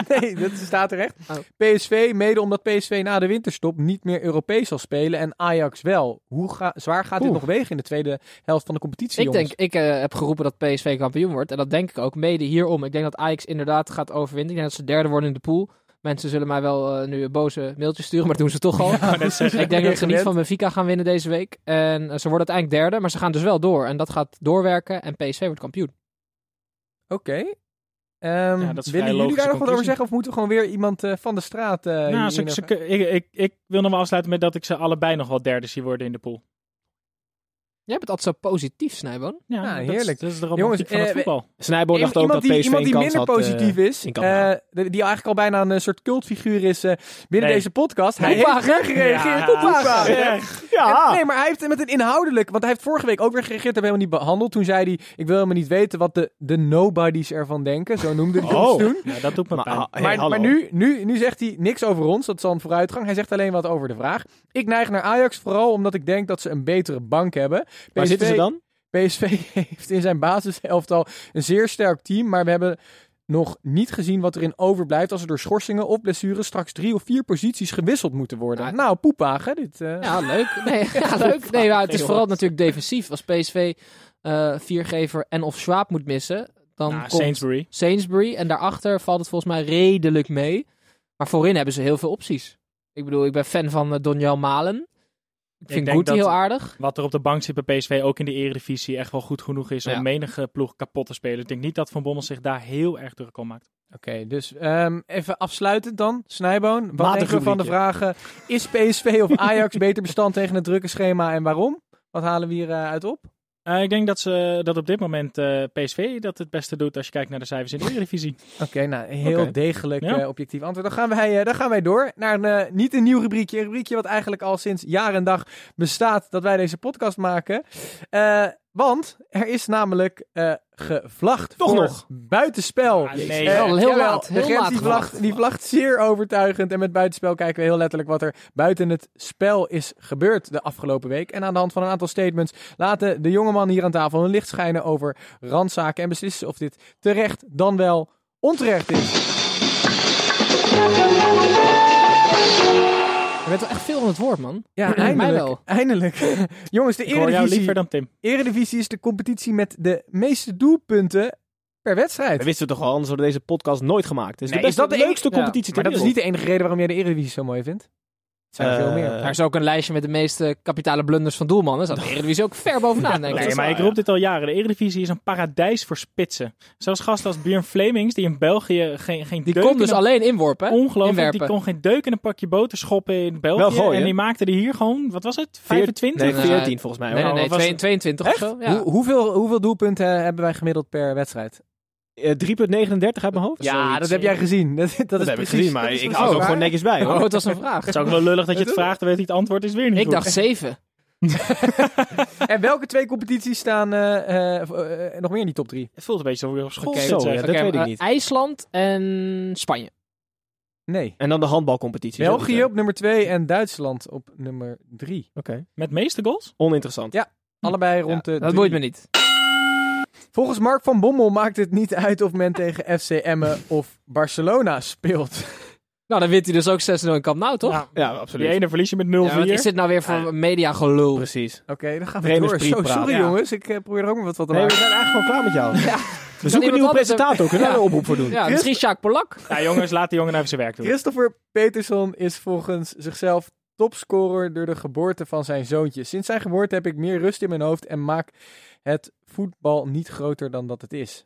Speaker 1: nee, dat staat terecht.
Speaker 6: Oh.
Speaker 1: PSV, mede omdat PSV na de winterstop niet meer Europees zal spelen en Ajax wel. Hoe ga- zwaar gaat dit
Speaker 4: Oeh.
Speaker 1: nog wegen in de tweede helft van de competitie,
Speaker 6: ik
Speaker 1: jongens?
Speaker 6: denk, ik eh, heb geroepen dat PSV kampioen wordt. En dat denk ik ook, mede hierom. Ik denk dat Ajax inderdaad gaat overwinnen. Ik denk dat ze derde worden in de pool. Mensen zullen mij wel eh, nu boze mailtjes sturen, maar dat doen ze toch al. ik denk dat ze niet van Benfica gaan winnen deze week. En eh, ze worden uiteindelijk derde, maar ze gaan dus wel door. En dat gaat doorwerken en PSV wordt kampioen.
Speaker 1: Oké. Ehm,
Speaker 5: Ja, dat is vrij
Speaker 1: willen jullie daar nog
Speaker 5: logische
Speaker 1: wat over
Speaker 5: conclusie.
Speaker 1: zeggen? Of moeten we gewoon weer iemand eh, van de straat... eh
Speaker 5: nou,
Speaker 1: hierin
Speaker 5: ze, ze,
Speaker 1: even-
Speaker 5: ik, ik, ik wil nog wel afsluiten met dat ik ze allebei nog wel derde zie worden in de pool.
Speaker 6: Jij bent altijd zo positief, Snijboon.
Speaker 5: Ja,
Speaker 1: Ah,
Speaker 5: dat
Speaker 1: heerlijk.
Speaker 5: Is, dat is de
Speaker 1: Jongens,
Speaker 5: romantiek van het
Speaker 1: eh,
Speaker 5: voetbal.
Speaker 4: Snijbo dacht ook
Speaker 1: iemand
Speaker 4: dat
Speaker 1: die,
Speaker 4: PSV
Speaker 1: iemand die
Speaker 4: een kans
Speaker 1: minder
Speaker 4: had, eh,
Speaker 1: positief is,
Speaker 4: in
Speaker 1: eh,
Speaker 4: Kampen.
Speaker 1: de- die eigenlijk al bijna een eh, soort cultfiguur is eh, binnen
Speaker 5: Nee.
Speaker 1: deze podcast. Hij heeft
Speaker 6: Poepwagen.
Speaker 1: weer gereageerd op Poepwagen. En- nee, maar hij heeft met een inhoudelijk, want hij heeft vorige week ook weer gereageerd, hebben we helemaal niet behandeld. Toen zei hij, ik wil helemaal niet weten wat de, de nobodies ervan denken, zo noemde hij ons
Speaker 4: Oh.
Speaker 1: toen.
Speaker 5: Ja, dat doet me
Speaker 4: Maar,
Speaker 5: pijn.
Speaker 4: ah, hey,
Speaker 1: Maar,
Speaker 4: hallo.
Speaker 1: maar nu, nu, nu zegt hij niks over ons, dat is al een vooruitgang. Hij zegt alleen wat over de vraag. Ik neig naar Ajax vooral omdat ik denk dat ze een betere bank hebben.
Speaker 4: Waar
Speaker 1: PSV
Speaker 4: zitten ze dan?
Speaker 1: PSV heeft in zijn basiselftal een zeer sterk team, maar we hebben nog niet gezien wat erin overblijft als er door schorsingen of blessures straks drie of vier posities gewisseld moeten worden.
Speaker 6: Ja.
Speaker 1: Nou, poepagen dit. eh.
Speaker 6: Ja, leuk. Nee, ja, leuk. nee maar het is vooral natuurlijk defensief. Als PSV eh, viergever en of Schwab moet missen, dan
Speaker 5: Nou,
Speaker 6: komt
Speaker 5: Sainsbury.
Speaker 6: Sainsbury. En daarachter valt het volgens mij redelijk mee. Maar voorin hebben ze heel veel opties. Ik bedoel, ik ben fan van eh, Donjel Malen. Ik vind
Speaker 5: denk
Speaker 6: Goed
Speaker 5: dat-
Speaker 6: heel aardig.
Speaker 5: Wat er op de bank zit bij PSV, ook in de eredivisie, echt wel goed genoeg is om
Speaker 6: Ja.
Speaker 5: menige ploeg kapot te spelen. Ik denk niet dat Van Bommel zich daar heel erg druk om maakt.
Speaker 1: Oké, dus ehm, even afsluitend dan, Snijboon. Wat
Speaker 4: Matig
Speaker 1: denken we van de
Speaker 4: rubriekje.
Speaker 1: vragen, is PSV of Ajax beter bestand tegen het drukke schema en waarom? Wat halen we hier eh, uit op?
Speaker 5: Eh, ik denk dat, ze, dat op dit moment eh, PSV dat het beste doet als je kijkt naar de cijfers in de eredivisie.
Speaker 1: Oké, nou, heel
Speaker 4: Oké.
Speaker 1: degelijk
Speaker 5: Ja.
Speaker 1: eh, objectief antwoord. Dan gaan wij, eh, dan gaan wij door naar een, eh, niet een nieuw rubriekje. Een rubriekje wat eigenlijk al sinds jaar en dag bestaat dat wij deze podcast maken. Eh, want er is namelijk eh gevlacht
Speaker 4: Toch
Speaker 1: voor
Speaker 4: nog?
Speaker 1: buitenspel.
Speaker 5: Ah, nee.
Speaker 1: Eh,
Speaker 6: Heel- heel
Speaker 1: jawel,
Speaker 6: laat,
Speaker 1: de
Speaker 6: heel
Speaker 1: grens
Speaker 6: laat
Speaker 1: die
Speaker 6: gevlacht.
Speaker 1: vlacht, die vlacht zeer overtuigend. En met buitenspel kijken we heel letterlijk wat er buiten het spel is gebeurd de afgelopen week. En aan de hand van een aantal statements laten de jongeman hier aan tafel hun licht schijnen over randzaken. En beslissen of dit terecht dan wel onterecht is.
Speaker 6: Je bent wel echt veel aan het woord, man.
Speaker 1: Ja,
Speaker 6: mij
Speaker 1: eindelijk.
Speaker 6: wel.
Speaker 1: Eindelijk. Jongens, de
Speaker 5: Ik hoor jou
Speaker 1: Eredivisie,
Speaker 5: liever dan Tim.
Speaker 1: Eredivisie is de competitie met de meeste doelpunten per wedstrijd.
Speaker 4: Dat wisten we toch al, anders hadden we deze podcast nooit gemaakt. Dus Het is
Speaker 1: Nee,
Speaker 4: de,
Speaker 1: is
Speaker 4: beste,
Speaker 1: dat de
Speaker 4: leukste
Speaker 1: enige-
Speaker 4: competitie ter
Speaker 1: Maar dat is niet
Speaker 4: wereld.
Speaker 1: de enige reden waarom jij de Eredivisie zo mooi vindt. Het zijn er veel
Speaker 4: Eh,
Speaker 1: meer.
Speaker 6: Daar is ook een lijstje met de meeste kapitale blunders van doelmannen. Daar staat de Eredivisie ook ver bovenaan, denk ik. Dus
Speaker 5: Nee, maar ik roep dit al jaren. De Eredivisie is een paradijs voor spitsen. Zoals gasten als Björn Flemings, die in België geen, geen
Speaker 6: Die
Speaker 5: deuk
Speaker 6: kon
Speaker 5: in
Speaker 6: dus
Speaker 5: een-
Speaker 6: alleen inworpen. hè?
Speaker 5: Ongelooflijk,
Speaker 6: inwerpen.
Speaker 5: die kon geen deuk in een pakje boter schoppen in België.
Speaker 4: Wel gooien.
Speaker 5: En die maakte er hier gewoon, wat was het, 25?
Speaker 4: Nee,
Speaker 6: Nee.
Speaker 4: 14 volgens mij.
Speaker 6: Nee, nee,
Speaker 4: hoor.
Speaker 6: nee,
Speaker 5: was
Speaker 6: twee-
Speaker 5: het?
Speaker 6: 22 of zo. Ja.
Speaker 1: Hoe, hoeveel, hoeveel doelpunten eh, hebben wij gemiddeld per wedstrijd?
Speaker 4: Eh, 3,39 uit mijn hoofd.
Speaker 6: Ja,
Speaker 4: Zoiets.
Speaker 6: dat
Speaker 1: dat heb jij gezien. Dat, dat,
Speaker 4: dat
Speaker 1: is
Speaker 4: heb ik
Speaker 1: precies,
Speaker 4: gezien, maar
Speaker 1: dat is
Speaker 4: ik
Speaker 1: precies
Speaker 4: hou er ook
Speaker 1: waar.
Speaker 4: gewoon netjes bij.
Speaker 6: Oh,
Speaker 4: Hoor.
Speaker 6: het was een vraag.
Speaker 5: Het is ook wel lullig dat je het vraagt, dan weet hij het antwoord is weer niet
Speaker 6: Ik
Speaker 5: goed.
Speaker 6: dacht 7.
Speaker 1: En welke twee competities staan eh, eh, voor- eh, nog meer in die top drie?
Speaker 5: Het voelt een beetje alsof ik op school
Speaker 4: Oké,
Speaker 5: zit.
Speaker 4: zo,
Speaker 5: zeg.
Speaker 4: ja, dat weet ik
Speaker 6: Ah.
Speaker 4: niet.
Speaker 6: eh, IJsland en Spanje.
Speaker 1: Nee.
Speaker 4: En dan de handbalcompetitie.
Speaker 1: België op nummer twee en Duitsland op nummer drie.
Speaker 4: Oké.
Speaker 5: Met meeste goals?
Speaker 4: Oninteressant.
Speaker 1: Ja. Allebei rond de
Speaker 6: Dat
Speaker 1: drie.
Speaker 6: boeit me niet.
Speaker 1: Volgens Mark van Bommel maakt het niet uit of men tegen FC Emmen of Barcelona speelt.
Speaker 6: Nou, dan wint hij dus ook 6-0 in Camp Nou, toch?
Speaker 5: Ja,
Speaker 4: Ja,
Speaker 5: die
Speaker 4: absoluut.
Speaker 5: ene verlies je met 0-4.
Speaker 6: Ja, wat is dit nou weer voor media gelul?
Speaker 4: Precies.
Speaker 1: Oké, dan gaan we
Speaker 4: Bremen
Speaker 1: door.
Speaker 4: is
Speaker 1: Zo,
Speaker 4: prikpraat.
Speaker 1: sorry
Speaker 5: Ja.
Speaker 1: jongens, ik eh, probeer er ook nog wat van te
Speaker 4: Nee, we
Speaker 1: maken.
Speaker 4: zijn eigenlijk gewoon klaar met jou. We zoeken een
Speaker 6: iemand
Speaker 4: nieuwe
Speaker 6: anders hebben-
Speaker 4: presentator. Kunnen we
Speaker 6: Ja.
Speaker 4: daar een oproep voor doen?
Speaker 6: Ja, misschien Sjaak Polak.
Speaker 5: Ja, jongens, laat de jongen even zijn werk doen.
Speaker 1: Christopher Peterson is volgens zichzelf topscorer door de geboorte van zijn zoontje. Sinds zijn geboorte heb ik meer rust in mijn hoofd en maak het voetbal niet groter dan dat het is.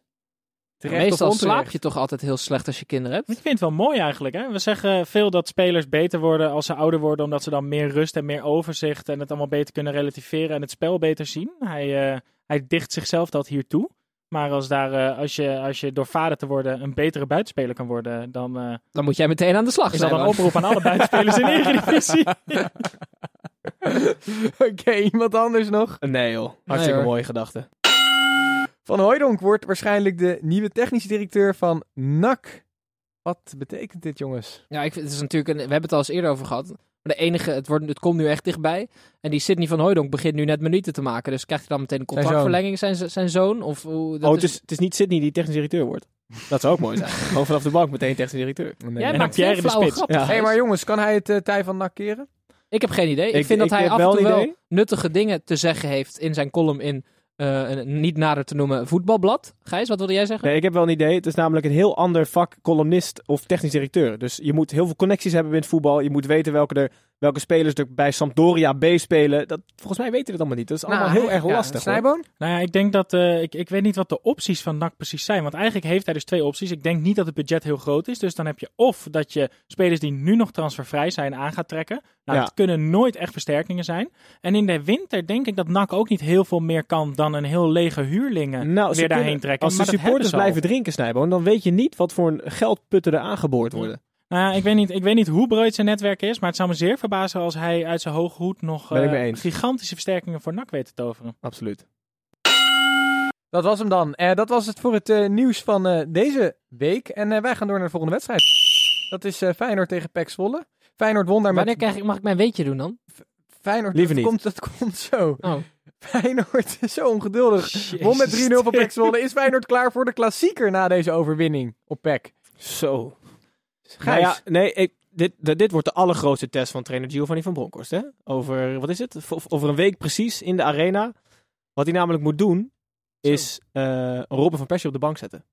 Speaker 1: Terecht of
Speaker 6: Meestal
Speaker 1: onterecht?
Speaker 6: slaap je toch altijd heel slecht als je kinderen
Speaker 5: Ik
Speaker 6: hebt.
Speaker 5: vind het wel mooi eigenlijk. Hè? We zeggen veel dat spelers beter worden als ze ouder worden, omdat ze dan meer rust en meer overzicht en het allemaal beter kunnen relativeren en het spel beter zien. Hij, eh, hij dicht zichzelf dat hier toe. Maar als, daar, eh, als, je, als je door vader te worden een betere buitenspeler kan worden, dan eh,
Speaker 6: Dan moet jij meteen aan de slag
Speaker 5: is
Speaker 6: zijn.
Speaker 5: dat een
Speaker 6: hoor.
Speaker 5: oproep aan alle buitenspelers in de Eredivisie.
Speaker 1: Oké, iemand anders nog?
Speaker 4: Nee joh,
Speaker 6: Nee,
Speaker 4: hartstikke
Speaker 6: hoor.
Speaker 4: mooie gedachte.
Speaker 1: Van Hooijdonk wordt waarschijnlijk de nieuwe technisch directeur van NAC. Wat betekent dit, jongens?
Speaker 6: Ja, ik, vind- het is natuurlijk een, we hebben het al eens eerder over gehad. Maar de enige, het, wordt, het komt nu echt dichtbij. En die Sidney van Hooydonk begint nu net minuten te maken. Dus krijgt hij dan meteen een
Speaker 1: Zijn
Speaker 6: contractverlenging, zijn, z- zijn zoon? Of, hoe, dat
Speaker 4: oh, het is, het is niet Sidney die technisch directeur wordt. Dat zou ook mooi zijn. Gewoon vanaf de bank meteen technisch directeur.
Speaker 1: Nee.
Speaker 6: Jij
Speaker 5: En
Speaker 6: maakt
Speaker 5: Pierre in
Speaker 6: veel
Speaker 5: de
Speaker 6: flauwe
Speaker 5: spits.
Speaker 6: grappen.
Speaker 4: Ja.
Speaker 1: Hé,
Speaker 6: Gijs.
Speaker 1: maar jongens, kan hij het eh, tij van NAC keren?
Speaker 6: Ik heb geen idee. Ik,
Speaker 4: Ik-
Speaker 6: vind dat
Speaker 4: ik
Speaker 6: hij
Speaker 4: heb
Speaker 6: af en
Speaker 4: wel
Speaker 6: toe
Speaker 4: een
Speaker 6: wel
Speaker 4: idee.
Speaker 6: nuttige dingen te zeggen heeft in zijn column in eh, een niet nader te noemen voetbalblad. Gijs, wat wilde jij zeggen?
Speaker 4: Nee, ik heb wel een idee. Het is namelijk een heel ander vak columnist of technisch directeur. Dus je moet heel veel connecties hebben in het voetbal. Je moet weten welke, er, welke spelers er bij Sampdoria B spelen. Dat, volgens mij weten we dat allemaal niet. Dat
Speaker 6: Nou,
Speaker 4: is allemaal heel erg
Speaker 1: ja,
Speaker 4: lastig. hoor.
Speaker 1: Snijboon?
Speaker 5: Nou ja, ik denk dat. eh, ik, ik weet niet wat de opties van NAC precies zijn. Want eigenlijk heeft hij dus twee opties. Ik denk niet dat het budget heel groot is. Dus dan heb je of dat je spelers die nu nog transfervrij zijn aan gaat trekken. Nou,
Speaker 4: Ja.
Speaker 5: dat kunnen nooit echt versterkingen zijn. En in de winter denk ik dat NAC ook niet heel veel meer kan dan een heel lege huurlingen
Speaker 4: Nou, ze
Speaker 5: eh, weer daarheen
Speaker 4: kunnen-
Speaker 5: trekken.
Speaker 4: Als de
Speaker 5: Maar dat hebben
Speaker 4: supporters
Speaker 5: ze al.
Speaker 4: blijven drinken, Snijboon, dan weet je niet wat voor een geldputten er aangeboord worden.
Speaker 5: Nou ja, ik weet niet, ik weet niet hoe breed zijn netwerk is. Maar het zou me zeer verbazen als hij uit zijn hoge hoed nog
Speaker 4: Ben ik
Speaker 5: eh,
Speaker 4: mee eens. Oh.
Speaker 5: gigantische versterkingen voor NAC weet te toveren.
Speaker 4: Absoluut.
Speaker 1: Dat was hem dan. Eh, dat was het voor het eh, nieuws van eh, deze week. En eh, wij gaan door naar de volgende wedstrijd. Dat is eh, Feyenoord tegen PEC Zwolle. Feyenoord won daar
Speaker 6: Wanneer
Speaker 1: met...
Speaker 6: krijg ik, mag ik mijn weetje doen dan?
Speaker 1: Feyenoord,
Speaker 4: Liever
Speaker 1: dat
Speaker 4: niet.
Speaker 1: Komt, dat komt zo.
Speaker 6: Oh.
Speaker 1: Feyenoord is zo ongeduldig. Won met 3-0 van PEC Zwolle. Is Feyenoord klaar voor de klassieker na deze overwinning op PEC?
Speaker 4: Zo.
Speaker 1: Gijs.
Speaker 4: Nou ja, nee, ik- dit, dit, dit wordt de allergrootste test van trainer Giovanni van Bronckhorst. Hè? Over, wat is het? V- over een week precies in de arena. Wat hij namelijk moet doen, is eh Robin van Persie op de bank zetten.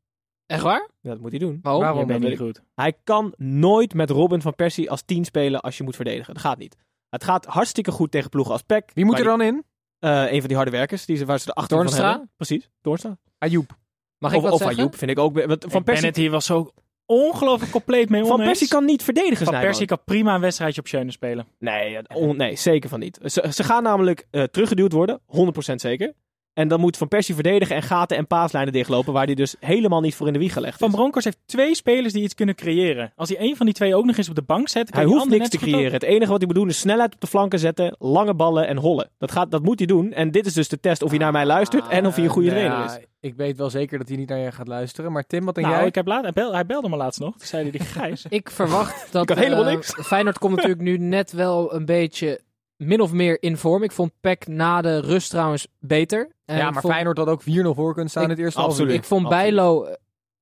Speaker 6: Echt waar?
Speaker 4: Ja, dat moet hij doen.
Speaker 6: Waarom?
Speaker 1: Waarom?
Speaker 5: Ik ben
Speaker 4: dat
Speaker 5: niet goed.
Speaker 4: Hij kan nooit met Robin van Persie als 10 spelen als je moet verdedigen. Dat gaat niet. Het gaat hartstikke goed tegen ploegen als PEC.
Speaker 1: Wie moet
Speaker 4: waar
Speaker 1: er dan in?
Speaker 4: die- eh, een van die harde werkers, die ze, waar ze de achter
Speaker 6: Toornstra?
Speaker 4: van hebben. Precies, Toornstra.
Speaker 1: Ayoub.
Speaker 6: Mag ik
Speaker 4: of
Speaker 6: wat
Speaker 4: of
Speaker 6: zeggen?
Speaker 4: Ayoub vind ik ook. be- want Van
Speaker 5: Van Persie...
Speaker 4: Persie,
Speaker 5: Bennett hier was zo ongelooflijk compleet mee
Speaker 4: van
Speaker 5: oneens.
Speaker 4: Persie kan niet verdedigen.
Speaker 5: Van
Speaker 4: Snijboon.
Speaker 5: Persie kan prima een wedstrijdje op Schöne spelen.
Speaker 4: Nee, eh, on- nee, zeker van niet. Ze, ze gaan namelijk eh, teruggeduwd worden, 100% zeker. En dan moet Van Persie verdedigen en gaten en paaslijnen dichtlopen, waar hij dus helemaal niet voor in de wieg gelegd
Speaker 5: Van
Speaker 4: is.
Speaker 5: Bronckhorst heeft twee spelers die iets kunnen creëren. Als hij één van die twee ook nog eens op de bank zet, kan
Speaker 4: Hij
Speaker 5: die
Speaker 4: hoeft
Speaker 5: ander
Speaker 4: niks te
Speaker 5: net zo goed
Speaker 4: creëren. Het enige wat hij moet doen is snelheid op de flanken zetten, lange ballen en hollen. Dat, gaat, dat moet hij doen. En dit is dus de test of hij
Speaker 5: Ah,
Speaker 4: naar mij luistert en of hij een goede
Speaker 1: Eh, nou
Speaker 4: trainer
Speaker 1: ja,
Speaker 4: is.
Speaker 1: Ik weet wel zeker dat hij niet naar je gaat luisteren. Maar Tim, wat
Speaker 5: ook.
Speaker 1: denk
Speaker 5: Nou,
Speaker 1: jij?
Speaker 5: ik heb laat, hij, bel- hij belde me laatst nog. Toen zei hij, die Gijs,
Speaker 6: Ik verwacht dat...
Speaker 4: kan helemaal
Speaker 6: eh,
Speaker 4: niks.
Speaker 6: Feyenoord komt natuurlijk nu net wel een beetje min of meer in vorm. Ik vond Peck na de rust trouwens beter. En
Speaker 1: ja,
Speaker 6: ik
Speaker 1: maar
Speaker 6: vond-
Speaker 1: Feyenoord had ook 4-0 voor kunnen staan in
Speaker 6: Ik-
Speaker 1: het eerste half.
Speaker 4: eh, absoluut.
Speaker 6: Ik vond
Speaker 4: Absoluut.
Speaker 6: Bijlo eh,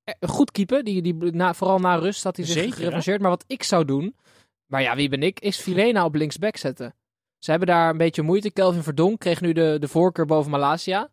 Speaker 6: eh, goed keeper. Die, die, na, vooral na rust had hij zich
Speaker 5: Zeker, hè?
Speaker 6: gerevancheerd. Maar wat ik zou doen, maar ja, wie ben ik, is Filena op linksback zetten. Ze hebben daar een beetje moeite. Kelvin Verdonk kreeg nu de, de voorkeur boven Malasia.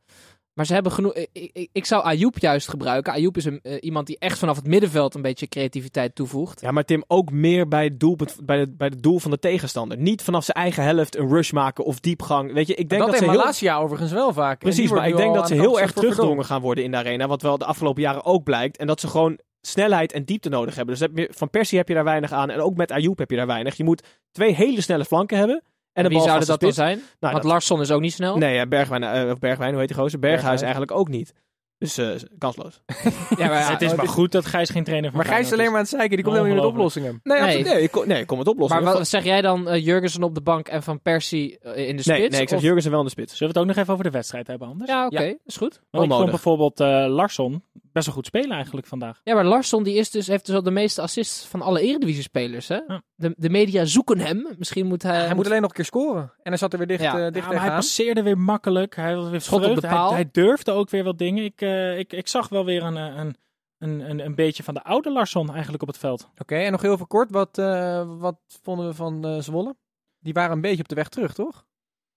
Speaker 6: Maar ze hebben genoeg. Ik, ik, ik zou Ayoub juist gebruiken. Ayoub is een, eh, iemand die echt vanaf het middenveld een beetje creativiteit toevoegt.
Speaker 4: Ja, maar Tim, ook meer bij het, doelpunt, bij, het, bij het doel van de tegenstander. Niet vanaf zijn eigen helft een rush maken of diepgang. Weet je, ik
Speaker 1: dat,
Speaker 4: denk dat,
Speaker 1: heeft
Speaker 4: ze heel...
Speaker 1: Malasia overigens wel vaak. En die
Speaker 4: Precies,
Speaker 1: wordt
Speaker 4: maar ik
Speaker 1: nu
Speaker 4: denk
Speaker 1: al
Speaker 4: dat
Speaker 1: aan
Speaker 4: ze
Speaker 1: de
Speaker 4: heel
Speaker 1: kant
Speaker 4: erg
Speaker 1: voor Verdonk.
Speaker 4: teruggedrongen gaan worden in de arena. Wat wel de afgelopen jaren ook blijkt. En dat ze gewoon snelheid en diepte nodig hebben. Dus heb je, van Persie heb je daar weinig aan. En ook met Ayoub heb je daar weinig. Je moet twee hele snelle flanken hebben. En de
Speaker 6: En wie
Speaker 4: bal
Speaker 6: zouden
Speaker 4: vast
Speaker 6: dat
Speaker 4: de
Speaker 6: dan
Speaker 4: spits.
Speaker 6: zijn?
Speaker 4: Nou,
Speaker 6: Want
Speaker 4: dat-
Speaker 6: Larsson is ook niet snel.
Speaker 4: Nee, ja, Bergwijn, eh, of Bergwijn, hoe heet die gozer? Berghuis
Speaker 5: Berghuis.
Speaker 4: eigenlijk ook niet. Dus eh, kansloos.
Speaker 6: Ja, maar ja,
Speaker 5: het is maar goed dat Gijs geen trainer van
Speaker 1: Maar Gijs is alleen maar aan het zeiken. Die komt helemaal niet met
Speaker 5: Ongelooflijk.
Speaker 1: oplossingen.
Speaker 4: Nee,
Speaker 6: Nee.
Speaker 4: absoluut. nee. ik kon, nee, ik kon het oplossen.
Speaker 6: Maar wat zeg jij dan, eh, Jurgensen op de bank en Van Persie eh, in de
Speaker 4: nee,
Speaker 6: spits?
Speaker 4: nee, ik zeg
Speaker 6: Of-
Speaker 4: Jurgensen wel in de spits.
Speaker 5: Zullen we het ook nog even over de wedstrijd hebben anders?
Speaker 6: Ja, oké, is goed.
Speaker 5: Want ik vond
Speaker 4: onnodig.
Speaker 5: bijvoorbeeld eh Larsson best wel goed spelen eigenlijk vandaag.
Speaker 6: Ja, maar Larsson die is dus, heeft dus al de meeste assists van alle Eredivisie-spelers. Hè?
Speaker 5: Ja.
Speaker 6: De, de media zoeken hem. Misschien moet hij...
Speaker 1: Hij moet alleen nog een keer scoren. En hij zat er weer dicht,
Speaker 6: Ja.
Speaker 1: eh,
Speaker 5: eh, Ja,
Speaker 1: dicht
Speaker 5: maar hij
Speaker 1: tegenaan.
Speaker 5: passeerde weer makkelijk. Hij was weer
Speaker 6: Schot op de
Speaker 5: vreugd. Hij,
Speaker 6: paal.
Speaker 5: hij durfde ook weer wat dingen. Ik, eh, ik, ik zag wel weer een, eh, een, een, een, een beetje van de oude Larsson eigenlijk op het veld.
Speaker 1: Oké, en nog heel even kort. Wat, eh, wat vonden we van eh, Zwolle? Die waren een beetje op de weg terug, toch?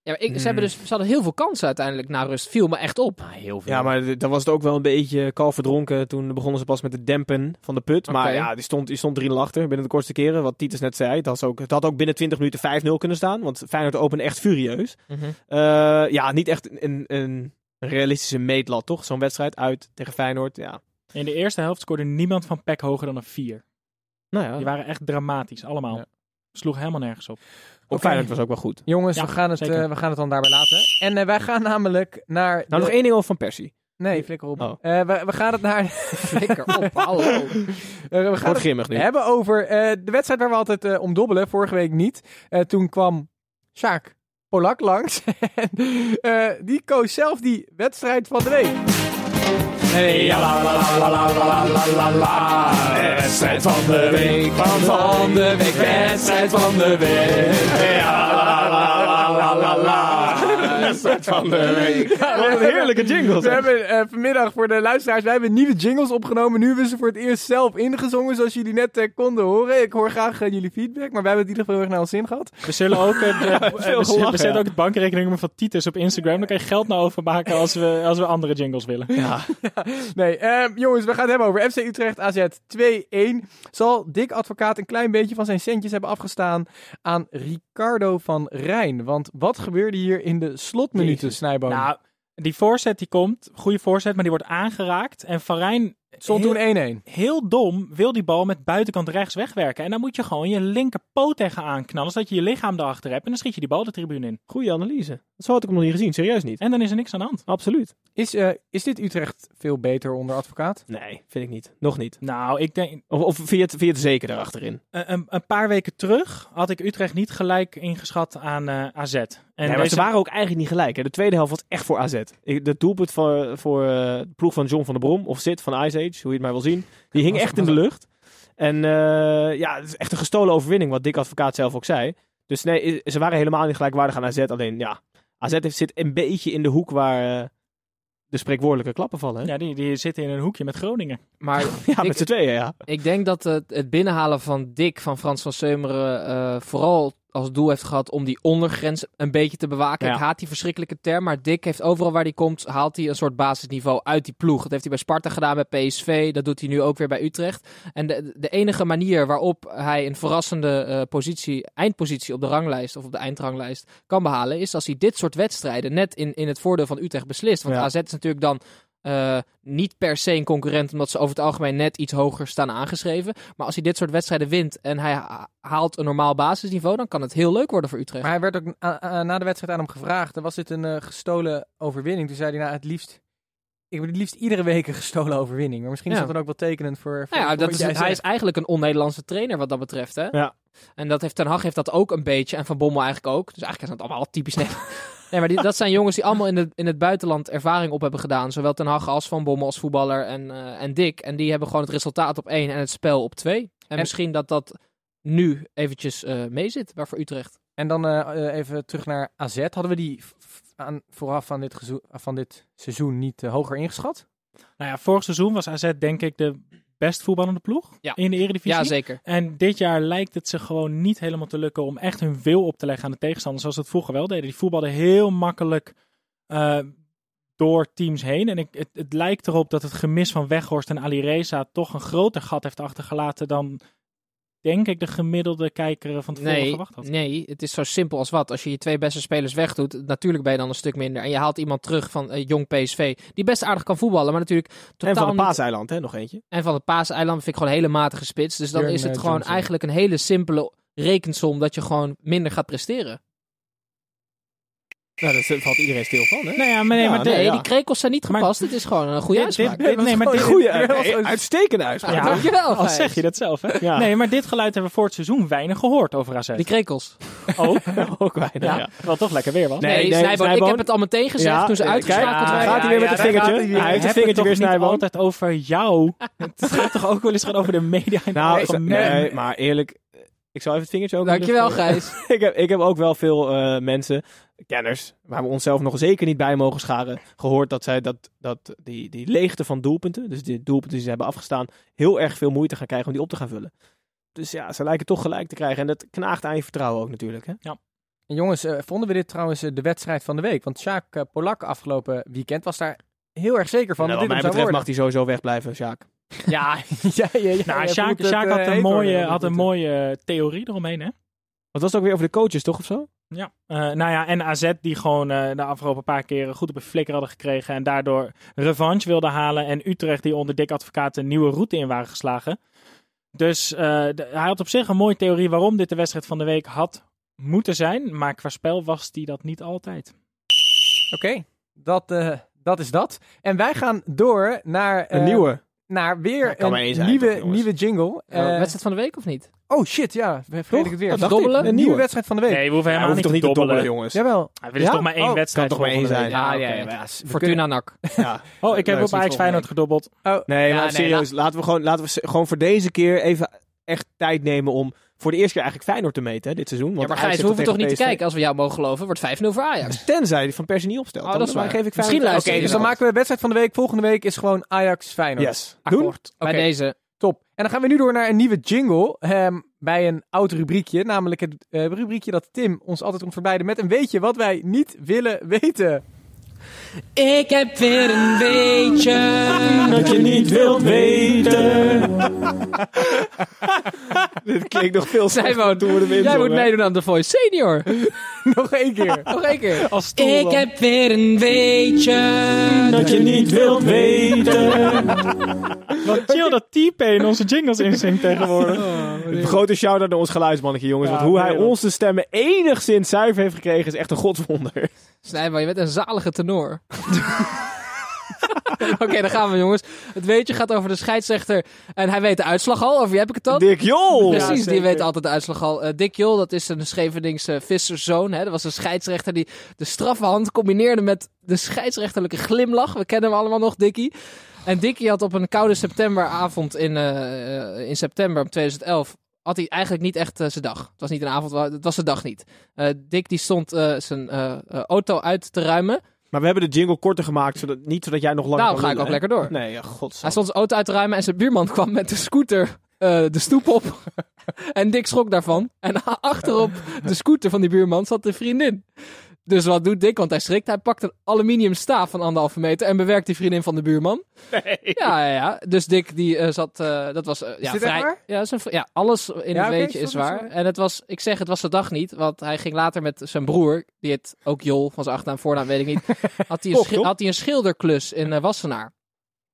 Speaker 6: Ja, maar ik, ze, hebben dus, ze hadden heel veel kansen uiteindelijk na rust. Viel me echt op. heel
Speaker 4: Ja, maar d- dan was het ook wel een beetje kalf verdronken. Toen begonnen ze pas met het dempen van de put. Maar
Speaker 6: Oké.
Speaker 4: ja, die stond, die stond 3-0 achter binnen de kortste keren. Wat Titus net zei. Het, was ook, het had ook binnen 20 minuten 5-0 kunnen staan. Want Feyenoord opende echt furieus. Eh, ja, niet echt een, een realistische meetlat, toch? Zo'n wedstrijd uit tegen Feyenoord. Ja.
Speaker 5: In de eerste helft scoorde niemand van Peck hoger dan een 4.
Speaker 4: Nou
Speaker 5: Die
Speaker 4: ja,
Speaker 5: waren echt dramatisch, allemaal.
Speaker 1: Ja.
Speaker 5: Sloeg helemaal nergens op.
Speaker 4: ook Feyenoord was ook wel goed.
Speaker 1: Jongens,
Speaker 5: Ja,
Speaker 1: we, gaan het,
Speaker 5: zeker.
Speaker 1: eh, we gaan het dan daarbij laten. En eh, wij gaan namelijk naar...
Speaker 4: Nou,
Speaker 1: de-
Speaker 4: nog één ding over Van Persie.
Speaker 1: Nee,
Speaker 6: flikker op.
Speaker 4: Oh.
Speaker 1: eh, we, we gaan het naar...
Speaker 6: Flikker op, hallo.
Speaker 1: eh, we gaan
Speaker 4: Wordt
Speaker 1: het
Speaker 4: grimmig nu.
Speaker 1: hebben over eh, de wedstrijd waar we altijd eh, om dobbelen. Vorige week niet. Eh, toen kwam Sjaak Polak langs. en, eh, die koos zelf die wedstrijd van de week.
Speaker 4: Wedstrijd van de week, van de week, wedstrijd van de week. Wedstrijd van de week. Wat een heerlijke jingle.
Speaker 1: We
Speaker 4: zeg.
Speaker 1: hebben eh, vanmiddag voor de luisteraars, wij hebben nieuwe jingles opgenomen. Nu hebben we ze voor het eerst zelf ingezongen, zoals jullie net eh, konden horen. Ik hoor graag eh, jullie feedback, maar wij hebben het in ieder geval heel erg naar ons zin gehad.
Speaker 5: We zullen ook, eh, de- eh, we,
Speaker 4: gelachen,
Speaker 5: zetten- we
Speaker 4: ja.
Speaker 5: zetten ook het bankrekeningnummer van Titus op Instagram. Daar kan je geld naar overmaken als we, als we andere jingles willen.
Speaker 1: Nee, ehm, jongens, we gaan het hebben over FC Utrecht AZ 2-1. Zal Dick Advocaat een klein beetje van zijn centjes hebben afgestaan aan Ricardo van Rijn? Want wat gebeurde hier in de slotminuten, Snijboom?
Speaker 5: Nou, die voorzet die komt, goede voorzet, maar die wordt aangeraakt. En Van Rijn
Speaker 1: Het stond
Speaker 5: heel-
Speaker 1: toen 1-1.
Speaker 5: heel dom wil die bal met buitenkant rechts wegwerken. En dan moet je gewoon je linkerpoot tegenaan knallen, zodat je je lichaam erachter hebt. En dan schiet je die bal de tribune in.
Speaker 4: Goeie analyse. Zo had ik hem nog niet gezien, serieus niet.
Speaker 5: En dan is er niks aan de hand.
Speaker 4: Absoluut.
Speaker 1: Is, eh, is dit Utrecht veel beter onder Advocaat?
Speaker 4: Nee, vind ik niet. Nog niet.
Speaker 5: Nou, ik denk,
Speaker 4: Of, of vind, je het, vind je het zeker daarachterin?
Speaker 5: Eh, een, een- een paar weken terug had ik Utrecht niet gelijk ingeschat aan eh, AZ. En
Speaker 4: Nee, maar
Speaker 5: deze-
Speaker 4: ze waren ook eigenlijk niet gelijk. Hè. De tweede helft was echt voor AZ. Ik- Dat doelpunt voor, voor eh, de ploeg van John van der Brom, of Sid van Ice Age, hoe je het maar wil zien, die hing echt in de lucht. En eh, ja, het is echt een gestolen overwinning, wat Dick Advocaat zelf ook zei. Dus nee, i- ze waren helemaal niet gelijkwaardig aan AZ. Alleen ja, AZ heeft, zit een beetje in de hoek waar eh, de spreekwoordelijke klappen vallen. Hè? Ja,
Speaker 5: Ja, die, die zitten in een hoekje met Groningen.
Speaker 6: Maar
Speaker 4: met z'n
Speaker 6: ik,
Speaker 4: tweeën, ja.
Speaker 6: ik denk dat het, het binnenhalen van Dick van Frans van Seumeren eh, vooral als doel heeft gehad om die ondergrens een beetje te bewaken.
Speaker 4: Ja.
Speaker 6: Ik haat die verschrikkelijke term, maar Dick heeft overal waar hij komt, haalt hij een soort basisniveau uit die ploeg. Dat heeft hij bij Sparta gedaan, bij PSV, dat doet hij nu ook weer bij Utrecht. En de, de enige manier waarop hij een verrassende eh, positie, eindpositie op de ranglijst of op de eindranglijst kan behalen, is als hij dit soort wedstrijden net in, in het voordeel van Utrecht beslist. Want
Speaker 4: Ja.
Speaker 6: AZ is natuurlijk dan eh, niet per se een concurrent, omdat ze over het algemeen net iets hoger staan aangeschreven. Maar als hij dit soort wedstrijden wint en hij ha- haalt een normaal basisniveau, dan kan het heel leuk worden voor Utrecht.
Speaker 1: Maar hij werd ook a- a- na de wedstrijd aan hem gevraagd. Dan was dit een eh, gestolen overwinning. Toen zei hij, nou, het liefst... Ik heb het liefst iedere week een gestolen overwinning. Maar misschien is
Speaker 6: Ja.
Speaker 1: dat dan ook wel tekenend voor... voor
Speaker 6: Nou ja,
Speaker 1: voor
Speaker 6: dat
Speaker 1: wat
Speaker 6: is,
Speaker 1: jij
Speaker 6: hij is
Speaker 1: zegt.
Speaker 6: eigenlijk een on-Nederlandse trainer wat dat betreft. Hè?
Speaker 4: Ja.
Speaker 6: En dat heeft Ten Hag heeft dat ook een beetje. En Van Bommel eigenlijk ook. Dus eigenlijk is dat allemaal typisch Nederland. Nee, maar die, dat zijn jongens die allemaal in het, in het buitenland ervaring op hebben gedaan. Zowel Ten Hag als Van Bommel als voetballer en, eh, en Dick. En die hebben gewoon het resultaat op één en het spel op twee. En, misschien dat dat nu eventjes eh mee zit, maar voor Utrecht.
Speaker 1: En dan eh, eh, even terug naar AZ. Hadden we die v- v- aan, vooraf van dit, gezo- van dit seizoen niet eh, hoger ingeschat?
Speaker 5: Nou ja, vorig seizoen was AZ denk ik de best voetballende ploeg
Speaker 6: Ja.
Speaker 5: in de Eredivisie.
Speaker 6: Ja, zeker.
Speaker 5: En dit jaar lijkt het ze gewoon niet helemaal te lukken om echt hun wil op te leggen aan de tegenstander. Zoals ze het vroeger wel deden. Die voetbalden heel makkelijk eh, door teams heen. En ik, het, het lijkt erop dat het gemis van Weghorst en Ali Reza toch een groter gat heeft achtergelaten dan, denk ik, de gemiddelde kijker van tevoren
Speaker 6: Nee,
Speaker 5: verwacht had.
Speaker 6: nee, het is zo simpel als wat. Als je je twee beste spelers wegdoet, natuurlijk ben je dan een stuk minder. En je haalt iemand terug van eh, jong PSV, die best aardig kan voetballen, maar natuurlijk totaal
Speaker 4: En van de
Speaker 6: niet-
Speaker 4: Paaseiland, hè, nog eentje.
Speaker 6: En van het Paaseiland vind ik gewoon een hele matige spits. Dus dan
Speaker 1: Jurgen,
Speaker 6: is het
Speaker 1: eh,
Speaker 6: gewoon
Speaker 1: Johnson.
Speaker 6: eigenlijk een hele simpele rekensom dat je gewoon minder gaat presteren.
Speaker 4: Nou, daar valt iedereen stil van, hè?
Speaker 5: Nou ja, maar, nee,
Speaker 4: Ja,
Speaker 5: maar
Speaker 4: nee,
Speaker 5: dit-
Speaker 6: Nee,
Speaker 4: ja.
Speaker 6: die krekels zijn niet
Speaker 5: Maar-
Speaker 6: gepast. het is gewoon een goede
Speaker 5: dit- dit-
Speaker 6: uitspraak.
Speaker 5: dit- nee, maar dit,
Speaker 4: Goeie,
Speaker 1: dit-
Speaker 4: nee, uitstekende uitspraak.
Speaker 5: Ja.
Speaker 6: Dankjewel,
Speaker 5: al
Speaker 6: Gijs.
Speaker 5: zeg je dat zelf, hè?
Speaker 4: Ja.
Speaker 5: Nee, maar dit geluid hebben we voor het seizoen weinig gehoord over AZ.
Speaker 6: Die krekels.
Speaker 5: ook.
Speaker 4: Ook weinig,
Speaker 5: Ja,
Speaker 4: ja.
Speaker 5: Wel toch lekker weer was.
Speaker 4: Nee,
Speaker 6: Nee,
Speaker 4: nee,
Speaker 6: Snijboon, ik
Speaker 4: Snijboon.
Speaker 6: heb het al meteen gezegd
Speaker 4: Ja,
Speaker 6: toen ze
Speaker 4: eh,
Speaker 6: uitgeschakeld
Speaker 4: kijk,
Speaker 6: werden.
Speaker 4: gaat hij weer met het vingertje?
Speaker 1: gaat hij weer.
Speaker 4: Hij heeft het
Speaker 5: Heb
Speaker 4: vingertje
Speaker 5: toch
Speaker 4: weer
Speaker 5: niet
Speaker 4: snijden.
Speaker 5: altijd over jou. Het gaat toch ook wel eens gewoon over de media. in
Speaker 4: Nou,
Speaker 5: het
Speaker 4: ik-
Speaker 5: algemeen?
Speaker 4: nee, maar eerlijk, eh, ik zal even het vingertje ook.
Speaker 6: Dankjewel, Gijs.
Speaker 4: ik, heb, ik heb ook wel veel eh, mensen, kenners, waar we onszelf nog zeker niet bij mogen scharen, gehoord dat zij dat, dat die, die leegte van doelpunten, dus die doelpunten die ze hebben afgestaan, heel erg veel moeite gaan krijgen om die op te gaan vullen. Dus ja, ze lijken toch gelijk te krijgen. En dat knaagt aan je vertrouwen ook natuurlijk. Hè?
Speaker 1: En jongens, eh, vonden we dit trouwens eh, de wedstrijd van de week? Want Sjaak eh, Polak afgelopen weekend was daar heel erg zeker van
Speaker 4: Nou,
Speaker 1: dat dit
Speaker 4: wat mij
Speaker 1: hem
Speaker 4: betreft
Speaker 1: zou
Speaker 4: mag
Speaker 1: worden.
Speaker 4: die sowieso wegblijven, Sjaak.
Speaker 1: Ja, ja, ja, ja,
Speaker 5: Nou,
Speaker 1: jij
Speaker 5: Sjaak,
Speaker 1: voelt het,
Speaker 5: Sjaak
Speaker 1: eh,
Speaker 5: had een
Speaker 1: heet worden,
Speaker 5: mooie,
Speaker 1: dat
Speaker 5: had een
Speaker 1: doet het. eh,
Speaker 5: mooie eh, theorie eromheen, hè?
Speaker 4: Wat was het ook weer over de coaches, toch? Of zo?
Speaker 5: Ja. Eh, nou ja, en AZ die gewoon eh, de afgelopen paar keren goed op een flikker hadden gekregen. En daardoor revanche wilde halen. En Utrecht die onder Dick Advocaat een nieuwe route in waren geslagen. Dus eh, de- hij had op zich een mooie theorie waarom dit de wedstrijd van de week had moeten zijn. Maar qua spel was die dat niet altijd.
Speaker 1: Oké, dat, eh, dat is dat. En wij gaan door naar...
Speaker 4: Een
Speaker 1: eh,
Speaker 4: nieuwe.
Speaker 1: Naar
Speaker 4: Ja,
Speaker 1: weer
Speaker 4: kan maar
Speaker 1: een
Speaker 4: één zijn,
Speaker 1: nieuwe,
Speaker 4: toch, jongens?
Speaker 1: nieuwe jingle.
Speaker 6: Eh,
Speaker 1: Eh,
Speaker 6: wedstrijd van de week of niet?
Speaker 1: oh shit, ja. Vergeet ik het weer.
Speaker 6: Even
Speaker 1: Dacht ik.
Speaker 6: dobbelen.
Speaker 1: Een nieuwe wedstrijd van de week.
Speaker 5: Nee, we hoeven
Speaker 4: Ja,
Speaker 5: helemaal
Speaker 4: hoeft toch
Speaker 5: niet te dobbelen.
Speaker 4: jongens.
Speaker 1: Jawel.
Speaker 5: Ah, Er is
Speaker 1: Ja?
Speaker 5: toch maar één
Speaker 1: Oh,
Speaker 5: wedstrijd.
Speaker 4: kan toch maar één
Speaker 5: volgende
Speaker 4: zijn.
Speaker 5: week.
Speaker 6: Ja, ja, ja. Fortuna Nou, NAC.
Speaker 4: Ja.
Speaker 5: Oh, ik heb
Speaker 4: Nee,
Speaker 5: op Ajax Feyenoord gedobbeld.
Speaker 1: Oh,
Speaker 4: Nee, maar
Speaker 6: nee,
Speaker 4: serieus, laten we, gewoon, laten we se- gewoon voor deze keer even echt tijd nemen om voor de eerste keer eigenlijk Feyenoord te meten hè, dit seizoen. Want
Speaker 6: Ja, maar
Speaker 4: Ajax
Speaker 6: Gijs, we
Speaker 4: heeft
Speaker 6: hoeven toch niet te
Speaker 4: tegen
Speaker 6: kijken. Als we jou mogen geloven, wordt 5-0 voor Ajax.
Speaker 4: PSV. Tenzij die van Persie niet opstelt.
Speaker 6: Oh,
Speaker 4: Dan-
Speaker 6: dat is
Speaker 4: dan
Speaker 6: waar.
Speaker 4: geef ik
Speaker 6: Misschien
Speaker 4: Feyenoord-
Speaker 6: luisteren
Speaker 1: Oké, dus dan maken we wedstrijd van de week. Volgende week is gewoon Ajax Feyenoord.
Speaker 4: Yes. Doen?
Speaker 6: Akkoord. Bij
Speaker 1: Oké.
Speaker 6: deze.
Speaker 1: Top. En dan gaan we nu door naar een nieuwe jingle. ehm, bij een oud rubriekje. Namelijk het eh, rubriekje dat Tim ons altijd komt verblijden met een weetje wat wij niet willen weten.
Speaker 6: Ik heb weer een beetje.
Speaker 4: Dat je niet wilt weten. Dit klinkt nog veel
Speaker 6: Zij woont, jij moet meedoen aan The Voice Senior.
Speaker 1: Nog één keer.
Speaker 6: Nog één keer.
Speaker 5: Als stoel
Speaker 6: Ik
Speaker 5: dan.
Speaker 6: heb weer een beetje.
Speaker 4: Dat je niet wilt weten.
Speaker 5: Wat chill dat T-Pain onze jingles inzingt tegenwoordig.
Speaker 4: Grote shout-out naar ons geluidsmannetje, jongens.
Speaker 5: Ja,
Speaker 4: want hoe hij
Speaker 5: wereld.
Speaker 4: onze stemmen enigszins zuiver heeft gekregen, is echt een godswonder.
Speaker 6: Snijman, je bent een zalige tenor. Oké, dan gaan we jongens. Het weetje gaat over de scheidsrechter. En hij weet de uitslag al. Over wie heb ik het dan?
Speaker 4: Dick Jol!
Speaker 6: Precies, die
Speaker 5: zeker.
Speaker 6: weet altijd de uitslag al. Eh, Dick Jol, dat is een Scheveningse visserszoon. Hè? Dat was een scheidsrechter die de straffe hand combineerde met de scheidsrechterlijke glimlach. We kennen hem allemaal nog, Dickie. En Dickie had op een koude septemberavond in, eh, eh, in september 2011... had hij eigenlijk niet echt eh, zijn dag. Het was niet een avond, wa- het was zijn dag niet. Eh, Dick die stond eh, zijn eh, eh, auto uit te ruimen.
Speaker 4: Maar we hebben de jingle korter gemaakt, zodat, niet zodat jij nog langer
Speaker 6: Daarom
Speaker 4: kan
Speaker 6: Nou, ga ik ook
Speaker 4: lullen,
Speaker 6: lekker door.
Speaker 4: hè? Nee, ja, gods.
Speaker 6: Hij stond zijn auto uit te ruimen en zijn buurman kwam met de scooter eh, de stoep op. en Dick schrok daarvan. En achterop de scooter van die buurman zat de vriendin. Dus wat doet Dick? Want hij schrikt. Hij pakt een aluminium staaf van anderhalve meter en bewerkt die vriendin van de buurman. Ja, ja, ja. Dus Dick die eh, zat, eh, dat was eh, ja,
Speaker 1: dit echt
Speaker 6: vrij.
Speaker 1: waar?
Speaker 6: Ja, dat is een vri- ja, alles in
Speaker 1: Ja,
Speaker 6: het
Speaker 1: oké,
Speaker 6: weetje is
Speaker 1: stond het
Speaker 6: waar.
Speaker 1: zo?
Speaker 6: En het was, ik zeg, het was de dag niet, want hij ging later met zijn broer, die het ook Jol van zijn achternaam, voornaam weet ik niet, had hij een,
Speaker 4: Toch,
Speaker 6: schi-
Speaker 4: toch?
Speaker 6: had hij een schilderklus in eh, Wassenaar.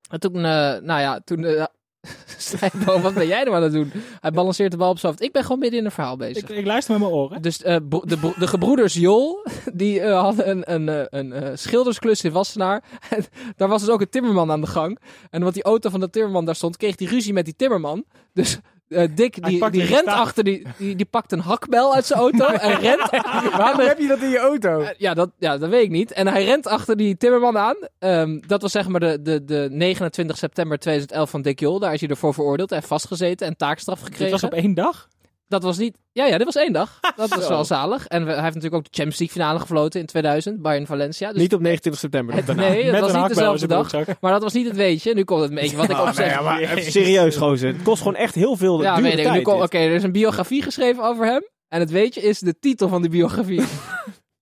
Speaker 6: En toen, eh, nou ja, toen. eh, Stijnboom, wat ben jij nou aan het doen? Hij balanceert de bal op zijn hoofd. Ik ben gewoon midden in een verhaal bezig.
Speaker 5: Ik, ik luister met mijn oren.
Speaker 6: Dus eh, bro- de, bro- de gebroeders Jol, die eh, hadden een, een, eh, een eh, schildersklus in Wassenaar. En daar was dus ook een timmerman aan de gang. En omdat die auto van de timmerman daar stond, kreeg die ruzie met die timmerman. Dus eh, Dick,
Speaker 5: Hij
Speaker 6: die,
Speaker 5: pakt
Speaker 6: die
Speaker 5: die
Speaker 6: rent
Speaker 5: staaf.
Speaker 6: achter, die, die, die pakt een hakbel uit zijn auto en rent...
Speaker 1: Waarom heb je dat in je auto?
Speaker 6: Eh, Ja dat, ja, dat weet ik niet. En hij rent achter die timmerman aan. Ehm, dat was zeg maar de, de, de 29 september 2011 van Dick Jol. Daar is hij ervoor veroordeeld en vastgezeten en taakstraf
Speaker 5: Dit
Speaker 6: gekregen.
Speaker 5: was op één dag.
Speaker 6: Dat was niet. Ja, ja, dit was één dag. Dat was wel zalig. En we- hij heeft natuurlijk ook de Champions League finale gefloten in 2000, Bayern Valencia. Dus
Speaker 4: Niet op 29 september.
Speaker 6: het,
Speaker 4: daarna.
Speaker 6: nee, dat
Speaker 5: Met
Speaker 6: was
Speaker 5: een
Speaker 6: niet
Speaker 5: hakbel in
Speaker 6: dezelfde
Speaker 5: zijn
Speaker 6: dag.
Speaker 5: broekzak.
Speaker 6: Maar dat was niet het weetje. Nu komt het beetje wat ik ook zeg.
Speaker 4: Ja, maar even serieus, gozer. Het kost gewoon echt heel veel
Speaker 6: Ja,
Speaker 4: dure
Speaker 6: weet ik.
Speaker 4: tijd.
Speaker 6: Nu komt- Oké,
Speaker 4: dit.
Speaker 6: er is een biografie geschreven over hem. En het weetje is de titel van die biografie.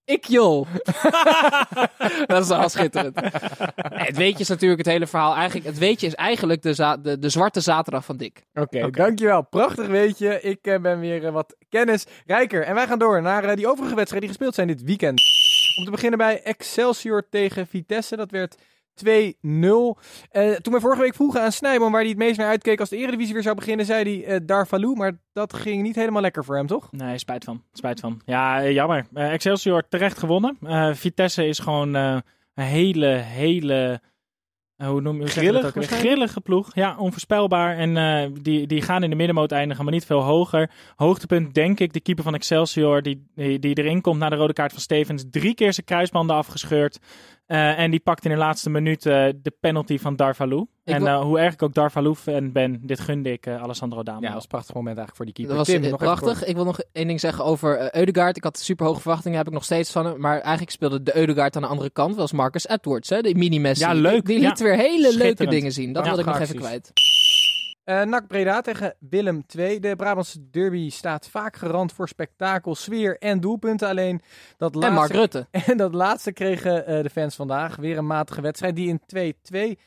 Speaker 6: Ik jol. dat is wel schitterend. Nee, het weetje is natuurlijk het hele verhaal. Eigenlijk, het weetje is eigenlijk de, za- de, de zwarte zaterdag van Dick.
Speaker 1: Oké, dankjewel. Prachtig weetje. Ik eh, ben weer eh, wat kennis rijker. En wij gaan door naar eh, die overige wedstrijden die gespeeld zijn dit weekend. Om te beginnen bij Excelsior tegen Vitesse. Dat werd 2-0. Eh, toen wij vorige week vroegen aan Snijboom waar hij het meest naar uitkeek als de Eredivisie weer zou beginnen, zei hij eh Darvalu. Maar dat ging niet helemaal lekker voor hem, toch?
Speaker 5: Nee, spijt van. Spijt van. Ja, eh, jammer. Eh, Excelsior terecht gewonnen. Eh, Vitesse is gewoon eh, een hele, hele... eh, hoe noem je hoe zeg je dat
Speaker 4: Grillig
Speaker 5: ook weer?
Speaker 4: waarschijnlijk?
Speaker 5: Grillige ploeg. Ja, onvoorspelbaar. En eh, die, die gaan in de middenmoot eindigen, maar niet veel hoger. Hoogtepunt, denk ik, de keeper van Excelsior... die, die, die erin komt na de rode kaart van Stevens. Drie keer zijn kruisbanden afgescheurd. Eh, en die pakt in de laatste minuut eh, de penalty van Darvalu.
Speaker 6: Ik
Speaker 5: En
Speaker 6: wil-
Speaker 5: eh, hoe erg ik ook Darvalu-fan ben, dit gunde ik eh, Alessandro Dama.
Speaker 1: dat was een prachtig moment eigenlijk voor die keeper.
Speaker 6: Dat was
Speaker 1: Tim,
Speaker 6: eh,
Speaker 1: nog even kort.
Speaker 6: prachtig. Ik wil nog één ding zeggen over eh, Eudegaard. Ik had super hoge verwachtingen, heb ik nog steeds van hem. Maar eigenlijk speelde de Eudegaard aan de andere kant. Was Marcus Edwards, hè? de mini-Messi.
Speaker 5: Ja, leuk.
Speaker 6: Die, die liet
Speaker 5: Ja.
Speaker 6: weer hele leuke
Speaker 5: Schitterend.
Speaker 6: dingen zien. Dat
Speaker 5: Ja,
Speaker 6: wilde ik nog even
Speaker 1: acties.
Speaker 6: kwijt.
Speaker 1: Eh NAC Breda tegen Willem II. De Brabantse derby staat vaak garant voor spektakel, sfeer en doelpunten. Alleen dat
Speaker 6: En Mark
Speaker 1: laatste,
Speaker 6: Rutte.
Speaker 1: en dat laatste kregen eh, de fans vandaag. Weer een matige wedstrijd die in 2-2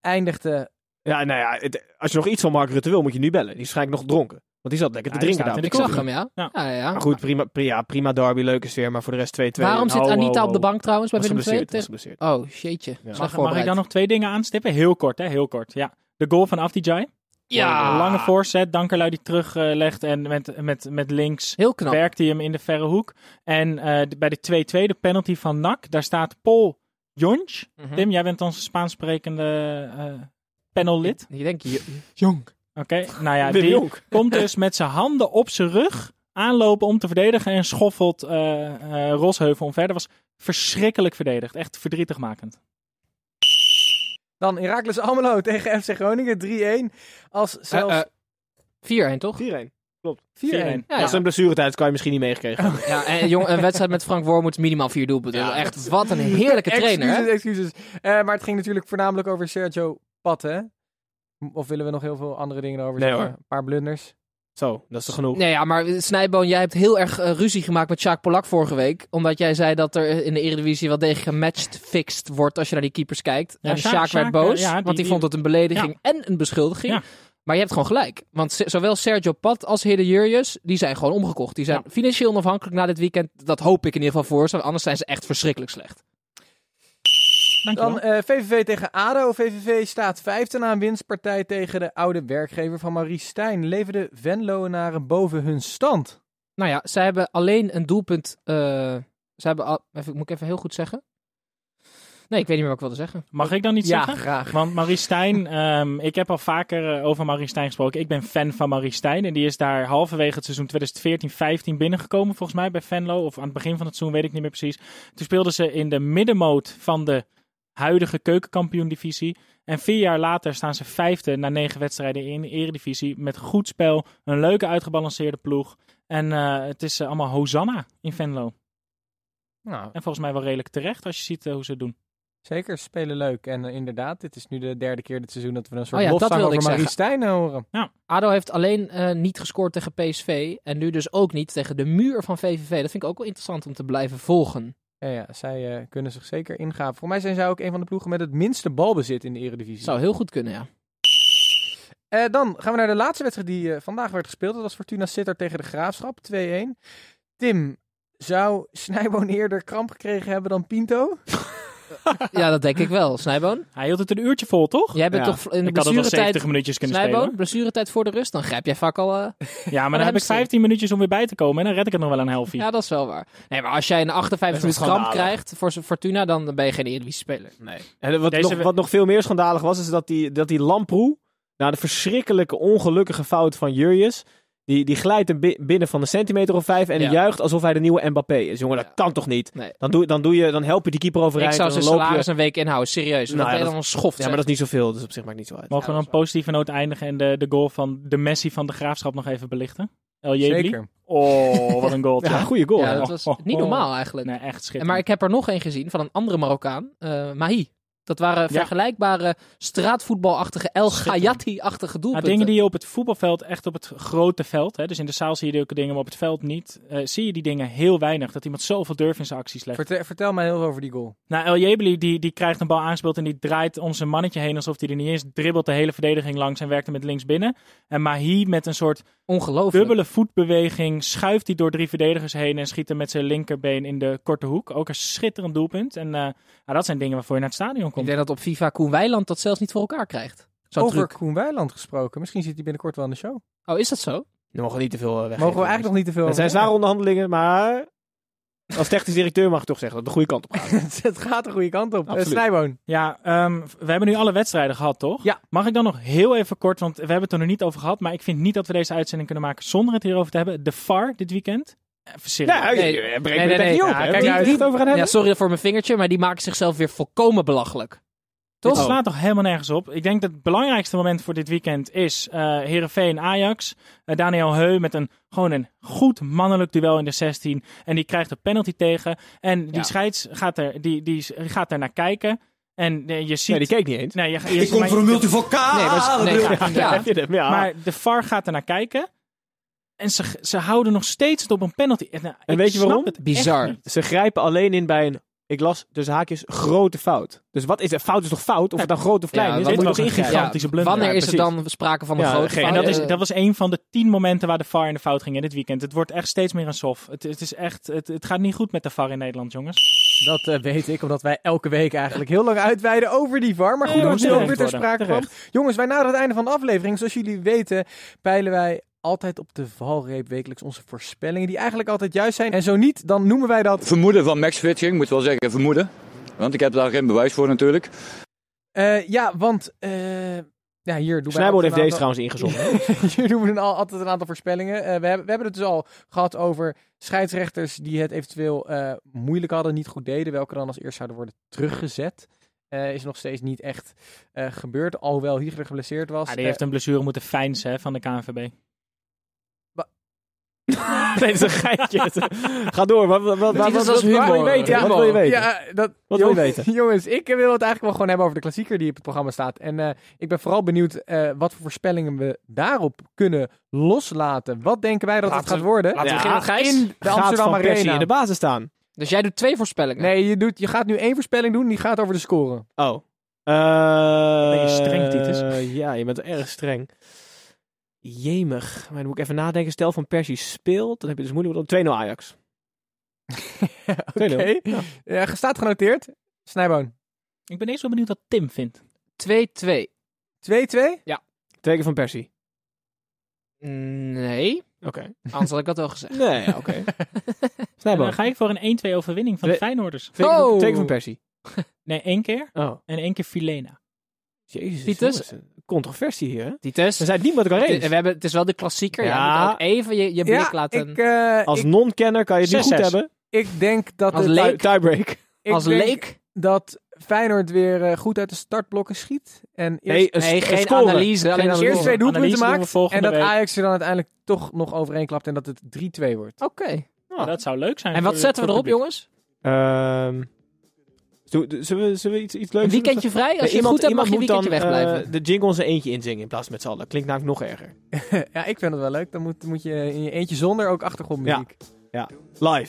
Speaker 1: eindigde.
Speaker 4: Ja, nou ja, het- als je nog iets van Mark Rutte wil, moet je nu bellen. Die is waarschijnlijk nog dronken. Want die zat lekker te
Speaker 5: Ja, die
Speaker 4: drinken
Speaker 5: staat
Speaker 4: daar.
Speaker 5: in de klopt.
Speaker 6: Ik zag hem, ja. ja.
Speaker 5: Ja.
Speaker 6: ja, ja.
Speaker 4: Maar goed, prima, prima, prima derby, leuke sfeer, maar voor de rest 2-2.
Speaker 6: Waarom zit
Speaker 5: Oh,
Speaker 6: Anita
Speaker 5: oh,
Speaker 6: op de
Speaker 5: oh.
Speaker 6: bank trouwens bij
Speaker 4: was
Speaker 6: Willem II?
Speaker 4: geblesseerd? Was geblesseerd.
Speaker 6: Oh, shitje. Slecht
Speaker 5: Mag, mag ik
Speaker 6: voorbereid.
Speaker 5: dan nog twee dingen aanstippen? Heel kort, hè? Heel kort. Ja. De goal van Afdijay.
Speaker 6: Ja.
Speaker 5: Lange voorzet. Dankerlui die teruglegt en met, met, met links
Speaker 6: Heel knap.
Speaker 5: werkt hij hem in de verre hoek. En eh, de- bij de 2-2, de penalty van NAC, daar staat Paul Jonch.
Speaker 6: Mhm.
Speaker 5: Tim, jij bent onze Spaans sprekende eh, panellid.
Speaker 6: Je denkt, je-
Speaker 4: Jonk.
Speaker 5: Oké, nou ja,
Speaker 4: Wim
Speaker 5: die
Speaker 4: Jonk.
Speaker 5: komt dus met zijn handen op zijn rug aanlopen om te verdedigen en schoffelt eh, eh, Rosheuvel om verder. Was verschrikkelijk verdedigd, echt verdrietigmakend.
Speaker 1: Dan Heracles Almelo tegen FC Groningen 3-1. Als zelfs
Speaker 6: eh, 4-1 toch?
Speaker 4: 4-1.
Speaker 1: 4-1.
Speaker 5: 4-1.
Speaker 6: Ja,
Speaker 4: Ja,
Speaker 6: ja.
Speaker 4: zijn blessuretijd kan je misschien niet meegekregen. hebben.
Speaker 6: Ja, en jong, een wedstrijd met Frank Wormoed moet minimaal vier doelpunten.
Speaker 4: Ja,
Speaker 6: Echt, wat een heerlijke trainer. hè?
Speaker 1: Excuses, excuses. Eh, maar het ging natuurlijk voornamelijk over Sergio Pat, hè? Of willen we nog heel veel andere dingen over
Speaker 4: Nee,
Speaker 1: zeggen?
Speaker 4: hoor.
Speaker 1: Een paar blunders.
Speaker 4: Zo, dat is toch genoeg.
Speaker 6: Nee, ja, maar eh, Snijboon, jij hebt heel erg eh, ruzie gemaakt met Jacques Polak vorige week. Omdat jij zei dat er eh, in de Eredivisie wel degelijk gematched fixed wordt als je naar die keepers kijkt.
Speaker 5: Ja,
Speaker 6: en
Speaker 5: Sjaak-
Speaker 6: Sjaak werd
Speaker 5: Sjaak, eh,
Speaker 6: boos,
Speaker 5: ja, die-
Speaker 6: want hij
Speaker 5: die-
Speaker 6: vond het een belediging en een beschuldiging.
Speaker 5: Ja.
Speaker 6: Maar je hebt gewoon gelijk. Want se- zowel Sergio Pat als Hede Jurjes, die zijn gewoon omgekocht. Die zijn financieel onafhankelijk na dit weekend. Dat hoop ik in ieder geval voor ze. want Anders zijn ze echt verschrikkelijk slecht.
Speaker 1: Dan
Speaker 5: Dankjewel.
Speaker 1: eh, VVV tegen ADO. VVV staat vijfde na een winstpartij tegen de oude werkgever van Marie Stijn. Leverde Venloenaren boven hun stand.
Speaker 6: Nou ja, zij hebben alleen een doelpunt. eh zij hebben al, even, moet ik even heel goed zeggen? Nee, ik weet niet meer wat ik wilde zeggen.
Speaker 5: Mag ik dan iets
Speaker 6: ja,
Speaker 5: zeggen?
Speaker 6: graag.
Speaker 5: Want Marie Stijn, ehm, ik heb al vaker eh, over Marie Stijn gesproken. Ik ben fan van Marie Stijn. En die is daar halverwege het seizoen 2014-15 binnengekomen, volgens mij bij Venlo. Of aan het begin van het seizoen, weet ik niet meer precies. Toen speelden ze in de middenmoot van de huidige keukenkampioen-divisie. En vier jaar later staan ze vijfde na negen wedstrijden in de eredivisie. Met goed spel, een leuke uitgebalanceerde ploeg. En eh, het is eh, allemaal Hosanna in Venlo.
Speaker 1: Nou,
Speaker 5: En volgens mij wel redelijk terecht als je ziet eh, hoe ze het doen.
Speaker 1: zeker. Spelen leuk. En eh, inderdaad, dit is nu de derde keer dit seizoen dat we een soort
Speaker 6: Oh ja, dat
Speaker 1: lofzang
Speaker 6: wilde
Speaker 1: over
Speaker 6: ik
Speaker 1: Marie Stijn horen.
Speaker 6: ADO heeft alleen eh, niet gescoord tegen PSV. En nu dus ook niet tegen de muur van VVV. Dat vind ik ook wel interessant om te blijven volgen.
Speaker 1: Ja, ja, zij eh, kunnen zich zeker ingaven. Voor mij zijn zij ook een van de ploegen met het minste balbezit in de eredivisie.
Speaker 6: Zou heel goed kunnen, ja.
Speaker 1: Eh, dan gaan we naar de laatste wedstrijd die eh, vandaag werd gespeeld. Dat was Fortuna Sittard tegen de Graafschap, 2-1. Tim, zou Snijboon eerder kramp gekregen hebben dan Pinto?
Speaker 6: Ja, dat denk ik wel. Snijboon,
Speaker 5: Hij hield het een uurtje vol, toch?
Speaker 6: jij bent
Speaker 4: Ja,
Speaker 6: toch in de
Speaker 5: Ik had het nog 70
Speaker 6: blessuretijd...
Speaker 5: minuutjes kunnen
Speaker 6: Snijboon, blessuretijd voor de rust. Dan grijp jij vaak al... eh,
Speaker 5: spelen. Ja, maar dan heb ik
Speaker 6: hamstring.
Speaker 5: 15 minuutjes om weer bij te komen en dan red ik het nog wel een helftje.
Speaker 6: Ja, dat is wel waar. Nee, maar als jij een 58
Speaker 4: Dat is
Speaker 6: minuten
Speaker 4: een
Speaker 6: kramp
Speaker 4: schandaal, hè?
Speaker 6: krijgt voor zijn Fortuna, dan ben je geen Eredivisie-speler.
Speaker 4: Nee. En wat,
Speaker 5: Deze
Speaker 4: nog,
Speaker 5: we-
Speaker 4: wat nog veel meer schandalig was, is dat die, dat die Lamproe, na de verschrikkelijke ongelukkige fout van Jurjes, die, die glijdt er bi- binnen van een centimeter of vijf en
Speaker 6: Ja.
Speaker 4: juicht alsof hij de nieuwe Mbappé is. Jongen, dat
Speaker 6: Ja.
Speaker 4: kan toch niet?
Speaker 6: Nee.
Speaker 4: Dan, doe, dan, doe je, dan help je die keeper
Speaker 6: Ik
Speaker 4: overeind.
Speaker 6: zou
Speaker 4: en
Speaker 6: zijn
Speaker 4: dan loop je...
Speaker 6: salaris een week inhouden, serieus.
Speaker 4: Nou
Speaker 6: Nou,
Speaker 4: ja,
Speaker 6: dat
Speaker 4: dat-
Speaker 6: dan een schoft.
Speaker 4: Ja, maar dat is niet zoveel, dus op zich maakt niet zo uit.
Speaker 5: Mogen we
Speaker 6: Ja,
Speaker 5: een
Speaker 6: dat is
Speaker 5: positieve noot eindigen en de, de goal van de Messi van de Graafschap nog even belichten? El Jebli?
Speaker 1: Zeker.
Speaker 5: Oh, wat een goal.
Speaker 4: Ja,
Speaker 5: toch?
Speaker 4: goede goal.
Speaker 6: Ja,
Speaker 4: hè?
Speaker 6: dat was
Speaker 5: Oh, oh,
Speaker 6: niet
Speaker 5: oh.
Speaker 6: normaal eigenlijk.
Speaker 5: Nee, echt
Speaker 6: En
Speaker 5: schitterend.
Speaker 6: maar ik heb er nog één gezien van een andere Marokkaan, eh Mahi. Dat waren vergelijkbare straatvoetbalachtige, El Ghayati-achtige
Speaker 5: Nou,
Speaker 6: doelpunten.
Speaker 5: dingen die je op het voetbalveld, echt op het grote veld, hè, dus in de zaal zie je ook dingen, maar op het veld niet, eh, zie je die dingen heel weinig. Dat iemand zoveel durf in zijn acties legt.
Speaker 1: Vertel, vertel mij heel veel over die goal.
Speaker 5: Nou, El Jebeli die, die krijgt een bal aangespeeld en die draait om zijn mannetje heen alsof hij er niet is. Dribbelt de hele verdediging langs en werkt hem met links binnen. En Mahi met een soort
Speaker 6: Ongelooflijk.
Speaker 5: dubbele voetbeweging schuift hij door drie verdedigers heen en schiet hem met zijn linkerbeen in de korte hoek. Ook een schitterend doelpunt. En eh, nou, dat zijn dingen waarvoor je naar het stadion
Speaker 6: Ik
Speaker 5: komt.
Speaker 6: denk dat op FIFA Koen Weiland dat zelfs niet voor elkaar krijgt. Zo'n
Speaker 1: over
Speaker 6: truc.
Speaker 1: Koen Weiland gesproken. Misschien zit hij binnenkort wel in de show.
Speaker 6: Oh, is dat zo?
Speaker 4: We mogen niet te
Speaker 6: eh,
Speaker 4: veel weg.
Speaker 1: Mogen we eigenlijk nog niet te veel
Speaker 4: Het zijn
Speaker 1: over
Speaker 4: zware onderhandelingen, maar als technisch directeur mag ik toch zeggen dat het de goede kant op gaat.
Speaker 1: zeggen. Het gaat de goede kant op. Eh,
Speaker 4: Absoluut.
Speaker 1: Snijboon.
Speaker 5: Ja, ehm, we hebben nu alle wedstrijden gehad, toch?
Speaker 1: Ja.
Speaker 5: Mag ik dan nog heel even kort, want we hebben het er nog niet over gehad, maar ik vind niet dat we deze uitzending kunnen maken zonder het hierover te hebben. De VAR dit weekend. Eh, Even serieus.
Speaker 4: Ja,
Speaker 6: Nee.
Speaker 4: je- je- je
Speaker 6: Nee,
Speaker 4: breekt me
Speaker 6: nee,
Speaker 4: de
Speaker 6: nee.
Speaker 4: techniek op.
Speaker 6: Ja,
Speaker 4: hè?
Speaker 6: kijk
Speaker 4: Die-
Speaker 6: uit.
Speaker 4: die het over gaan
Speaker 6: Ja,
Speaker 4: hebben?
Speaker 6: sorry voor mijn vingertje, maar die maken zichzelf weer volkomen belachelijk.
Speaker 5: Dit
Speaker 6: Toch?
Speaker 5: slaat toch helemaal nergens op. Ik denk dat het belangrijkste moment voor dit weekend is eh Heerenveen Ajax. Eh, Daniel Heu met een, gewoon een goed mannelijk duel in de 16. En die krijgt een penalty tegen. En die
Speaker 6: Ja.
Speaker 5: scheids gaat er, die, die gaat er naar kijken. En eh, je ziet...
Speaker 4: Nee, die keek niet eens.
Speaker 5: Nee, je, je,
Speaker 3: Ik kom
Speaker 5: maar-
Speaker 3: voor een multivocaal.
Speaker 6: Nee, maar, nee, ja, ja.
Speaker 4: Heb je hem? Ja.
Speaker 5: Maar de VAR gaat er naar kijken. En ze, ze houden nog steeds het op een penalty. En, nou,
Speaker 4: En
Speaker 5: ik
Speaker 4: weet je
Speaker 5: snap
Speaker 4: waarom?
Speaker 5: het echt
Speaker 6: Bizar.
Speaker 5: niet.
Speaker 4: Ze grijpen alleen in bij een, ik las tussen haakjes, grote fout. Dus wat is er? Fout is toch fout? Of het dan groot of klein
Speaker 6: Ja,
Speaker 4: is?
Speaker 6: dat
Speaker 4: Dit
Speaker 6: moet
Speaker 4: was
Speaker 5: nog
Speaker 4: een
Speaker 5: ingrijpen. gigantische
Speaker 4: gigantische
Speaker 6: Ja,
Speaker 5: blunder.
Speaker 6: Wanneer
Speaker 4: Ja,
Speaker 6: is er
Speaker 4: precies.
Speaker 6: dan sprake van een
Speaker 4: Ja,
Speaker 6: grote
Speaker 4: geen-
Speaker 6: fout?
Speaker 5: En dat, is,
Speaker 6: Eh,
Speaker 5: dat was een van de tien momenten waar de VAR in de fout ging. Hè, dit weekend. Het wordt echt steeds meer een sof. Het, het, is echt, het, het gaat niet goed met de VAR in Nederland, jongens.
Speaker 1: Dat eh, weet ik, omdat wij elke week eigenlijk heel lang uitweiden over die VAR. Maar goed,
Speaker 5: Ja,
Speaker 1: dat
Speaker 5: moet
Speaker 1: is ook weer
Speaker 5: terecht
Speaker 1: ter
Speaker 5: worden.
Speaker 1: sprake kwam. Jongens, wij naderen het einde van de aflevering. Zoals jullie weten, peilen wij altijd op de valreep wekelijks onze voorspellingen. Die eigenlijk altijd juist zijn. En zo niet, dan noemen wij dat
Speaker 9: Vermoeden van matchfitting, moet wel zeggen, vermoeden. Want ik heb daar geen bewijs voor natuurlijk.
Speaker 1: Eh, ja, want... eh, ja, hier doen wij
Speaker 4: Snijboord
Speaker 1: altijd
Speaker 4: heeft
Speaker 1: een
Speaker 4: deze
Speaker 1: aantal-
Speaker 4: trouwens ingezonden.
Speaker 1: Hier doen we dan al, altijd een aantal voorspellingen. Eh, we, hebben, we hebben het dus al gehad over scheidsrechters die het eventueel eh, moeilijk hadden, niet goed deden. Welke dan als eerst zouden worden teruggezet. Eh, is nog steeds niet echt eh, gebeurd, alhoewel Hiegler geblesseerd was. Eh,
Speaker 5: Ah, die heeft een blessure moeten fijnsen hè, van de KNVB.
Speaker 4: nee, dat is een geitje. Ga door. Wat, wat, wat, wat,
Speaker 6: Dit is
Speaker 4: wat,
Speaker 6: als
Speaker 1: Eh,
Speaker 6: humor.
Speaker 1: waar wil je weten?
Speaker 4: Wat wil je weten?
Speaker 1: Ja, eh, dat,
Speaker 4: Wat wil je
Speaker 1: jongens-
Speaker 4: weten?
Speaker 1: Jongens, ik eh, wil het eigenlijk wel gewoon hebben over de klassieker die op het programma staat. En eh, ik ben vooral benieuwd eh, wat voor voorspellingen we daarop kunnen loslaten. Wat denken wij dat
Speaker 6: Laten
Speaker 1: het
Speaker 6: we-
Speaker 1: gaat worden?
Speaker 6: Laten we
Speaker 4: Ja,
Speaker 6: beginnen met Gijs.
Speaker 1: In de
Speaker 4: Gaat
Speaker 1: Amsterdam
Speaker 4: Van Persie
Speaker 1: Arena.
Speaker 4: in de basis staan.
Speaker 6: Dus jij doet twee voorspellingen.
Speaker 1: Nee, je, doet, je gaat nu één voorspelling doen, die gaat over de score.
Speaker 4: Oh.
Speaker 5: Ben je streng, Titus?
Speaker 4: Eh, ja, je bent erg streng. Jemig. Maar dan moet ik even nadenken. Stel Van Persie speelt, dan heb je dus moeilijk. want dan 2-0 Ajax.
Speaker 1: Oké.
Speaker 4: 2-0.
Speaker 1: Ja. staat Eh, genoteerd. Snijboon.
Speaker 5: Ik ben eerst wel benieuwd wat Tim vindt.
Speaker 6: 2-2.
Speaker 1: 2-2?
Speaker 4: Twee keer Van Persie.
Speaker 6: Nee.
Speaker 4: Oké.
Speaker 6: Anders had ik dat wel gezegd.
Speaker 4: Nee, ja, oké.
Speaker 5: En
Speaker 4: Snijboom.
Speaker 5: dan ga ik voor een 1-2 overwinning van de
Speaker 4: We-
Speaker 5: Feyenoorders.
Speaker 4: Twee, keer-
Speaker 1: Oh.
Speaker 4: twee keer Van Persie.
Speaker 5: Nee, één keer
Speaker 4: Oh.
Speaker 5: en één keer Filena.
Speaker 4: Jezus.
Speaker 6: Titus?
Speaker 4: jongens, een Controversie hier, hè?
Speaker 6: Die
Speaker 4: Er
Speaker 6: test.
Speaker 4: zijn niemand kan
Speaker 6: We
Speaker 4: eens.
Speaker 6: hebben, het is wel de klassieker. Ja.
Speaker 4: Ja.
Speaker 6: Je moet ook even je, je blik laten.
Speaker 1: ik, eh,
Speaker 4: Als
Speaker 1: ik,
Speaker 4: non-kenner kan je het niet goed
Speaker 5: 6-6.
Speaker 4: hebben.
Speaker 1: ik denk dat...
Speaker 6: Als
Speaker 1: het-
Speaker 6: leek.
Speaker 4: Tie- Tiebreak.
Speaker 1: ik
Speaker 6: als
Speaker 1: denk
Speaker 6: leek.
Speaker 1: dat Feyenoord weer eh, goed uit de startblokken schiet. En eerst,
Speaker 4: een,
Speaker 6: Nee,
Speaker 4: een
Speaker 6: geen
Speaker 4: scoren.
Speaker 6: analyse. Alleen
Speaker 1: eerst
Speaker 6: een score.
Speaker 1: twee doelpunten
Speaker 5: Analyse doen we
Speaker 1: maakt. En
Speaker 5: volgende
Speaker 1: dat
Speaker 5: week.
Speaker 1: Ajax er dan uiteindelijk toch nog overheen klapt en dat het 3-2 wordt.
Speaker 6: Oké.
Speaker 4: Ah.
Speaker 5: Dat zou leuk zijn.
Speaker 6: En
Speaker 5: voor-
Speaker 6: wat zetten we
Speaker 5: voor
Speaker 6: erop,
Speaker 5: het publiek.
Speaker 4: Ehm,
Speaker 6: jongens?
Speaker 4: zullen, we, zullen we- zullen we iets, iets leuks
Speaker 6: Een
Speaker 4: doen?
Speaker 6: weekendje vrij? Als je het
Speaker 4: iemand,
Speaker 6: goed hebt, mag
Speaker 4: iemand
Speaker 6: je een
Speaker 4: moet dan
Speaker 6: weekendje wegblijven.
Speaker 4: eh, de jingle in zijn eentje inzingen in plaats van met z'n allen. Klinkt namelijk nog erger.
Speaker 1: ja, ik vind het wel leuk. Dan moet, moet je in je eentje zonder ook achtergrondmuziek.
Speaker 4: Live.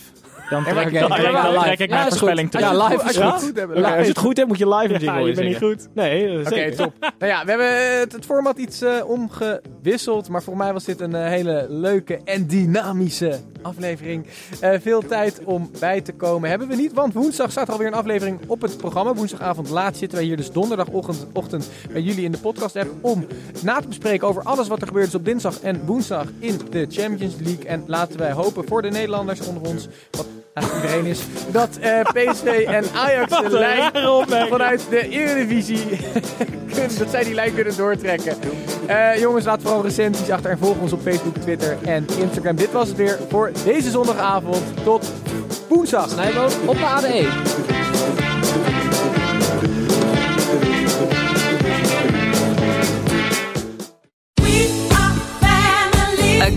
Speaker 5: Dan
Speaker 1: Ja, maar-
Speaker 5: trek,
Speaker 1: Oké,
Speaker 5: dan
Speaker 1: ja,
Speaker 5: trek-
Speaker 1: maar-
Speaker 5: dan
Speaker 1: ja,
Speaker 5: trek ik
Speaker 6: ja,
Speaker 5: mijn
Speaker 6: is goed.
Speaker 5: voorspelling terug.
Speaker 6: Ja, live
Speaker 1: Als
Speaker 6: is
Speaker 1: je het
Speaker 6: goed.
Speaker 1: goed hebt.
Speaker 4: Oké,
Speaker 1: Live.
Speaker 4: als je het goed hebt, moet je live een jingle
Speaker 5: Ja, je bent
Speaker 4: inzingen.
Speaker 5: niet goed.
Speaker 4: Nee, eh,
Speaker 1: Oké,
Speaker 4: zeker.
Speaker 1: top. nou ja, we hebben het, het format iets eh, omgewisseld. Maar voor mij was dit een eh, hele leuke en dynamische aflevering. Eh, veel tijd om bij te komen hebben we niet. Want woensdag staat er alweer een aflevering op het programma. Woensdagavond laat zitten wij hier dus donderdagochtend ochtend bij jullie in de podcast app. Om na te bespreken over alles wat er gebeurd is op dinsdag en woensdag in de Champions League. En laten wij hopen voor de Nederlanders onder ons. Wat haast iedereen is. Dat eh, PSV en Ajax de lijn vanuit de Eredivisie kunnen- dat zij die lijn kunnen doortrekken. Eh, jongens, laat vooral recensies achter en volg ons op Facebook, Twitter en Instagram. Dit was het weer voor deze zondagavond. Tot woensdag.
Speaker 6: Snijboon op de
Speaker 10: E.
Speaker 6: ADE.
Speaker 7: A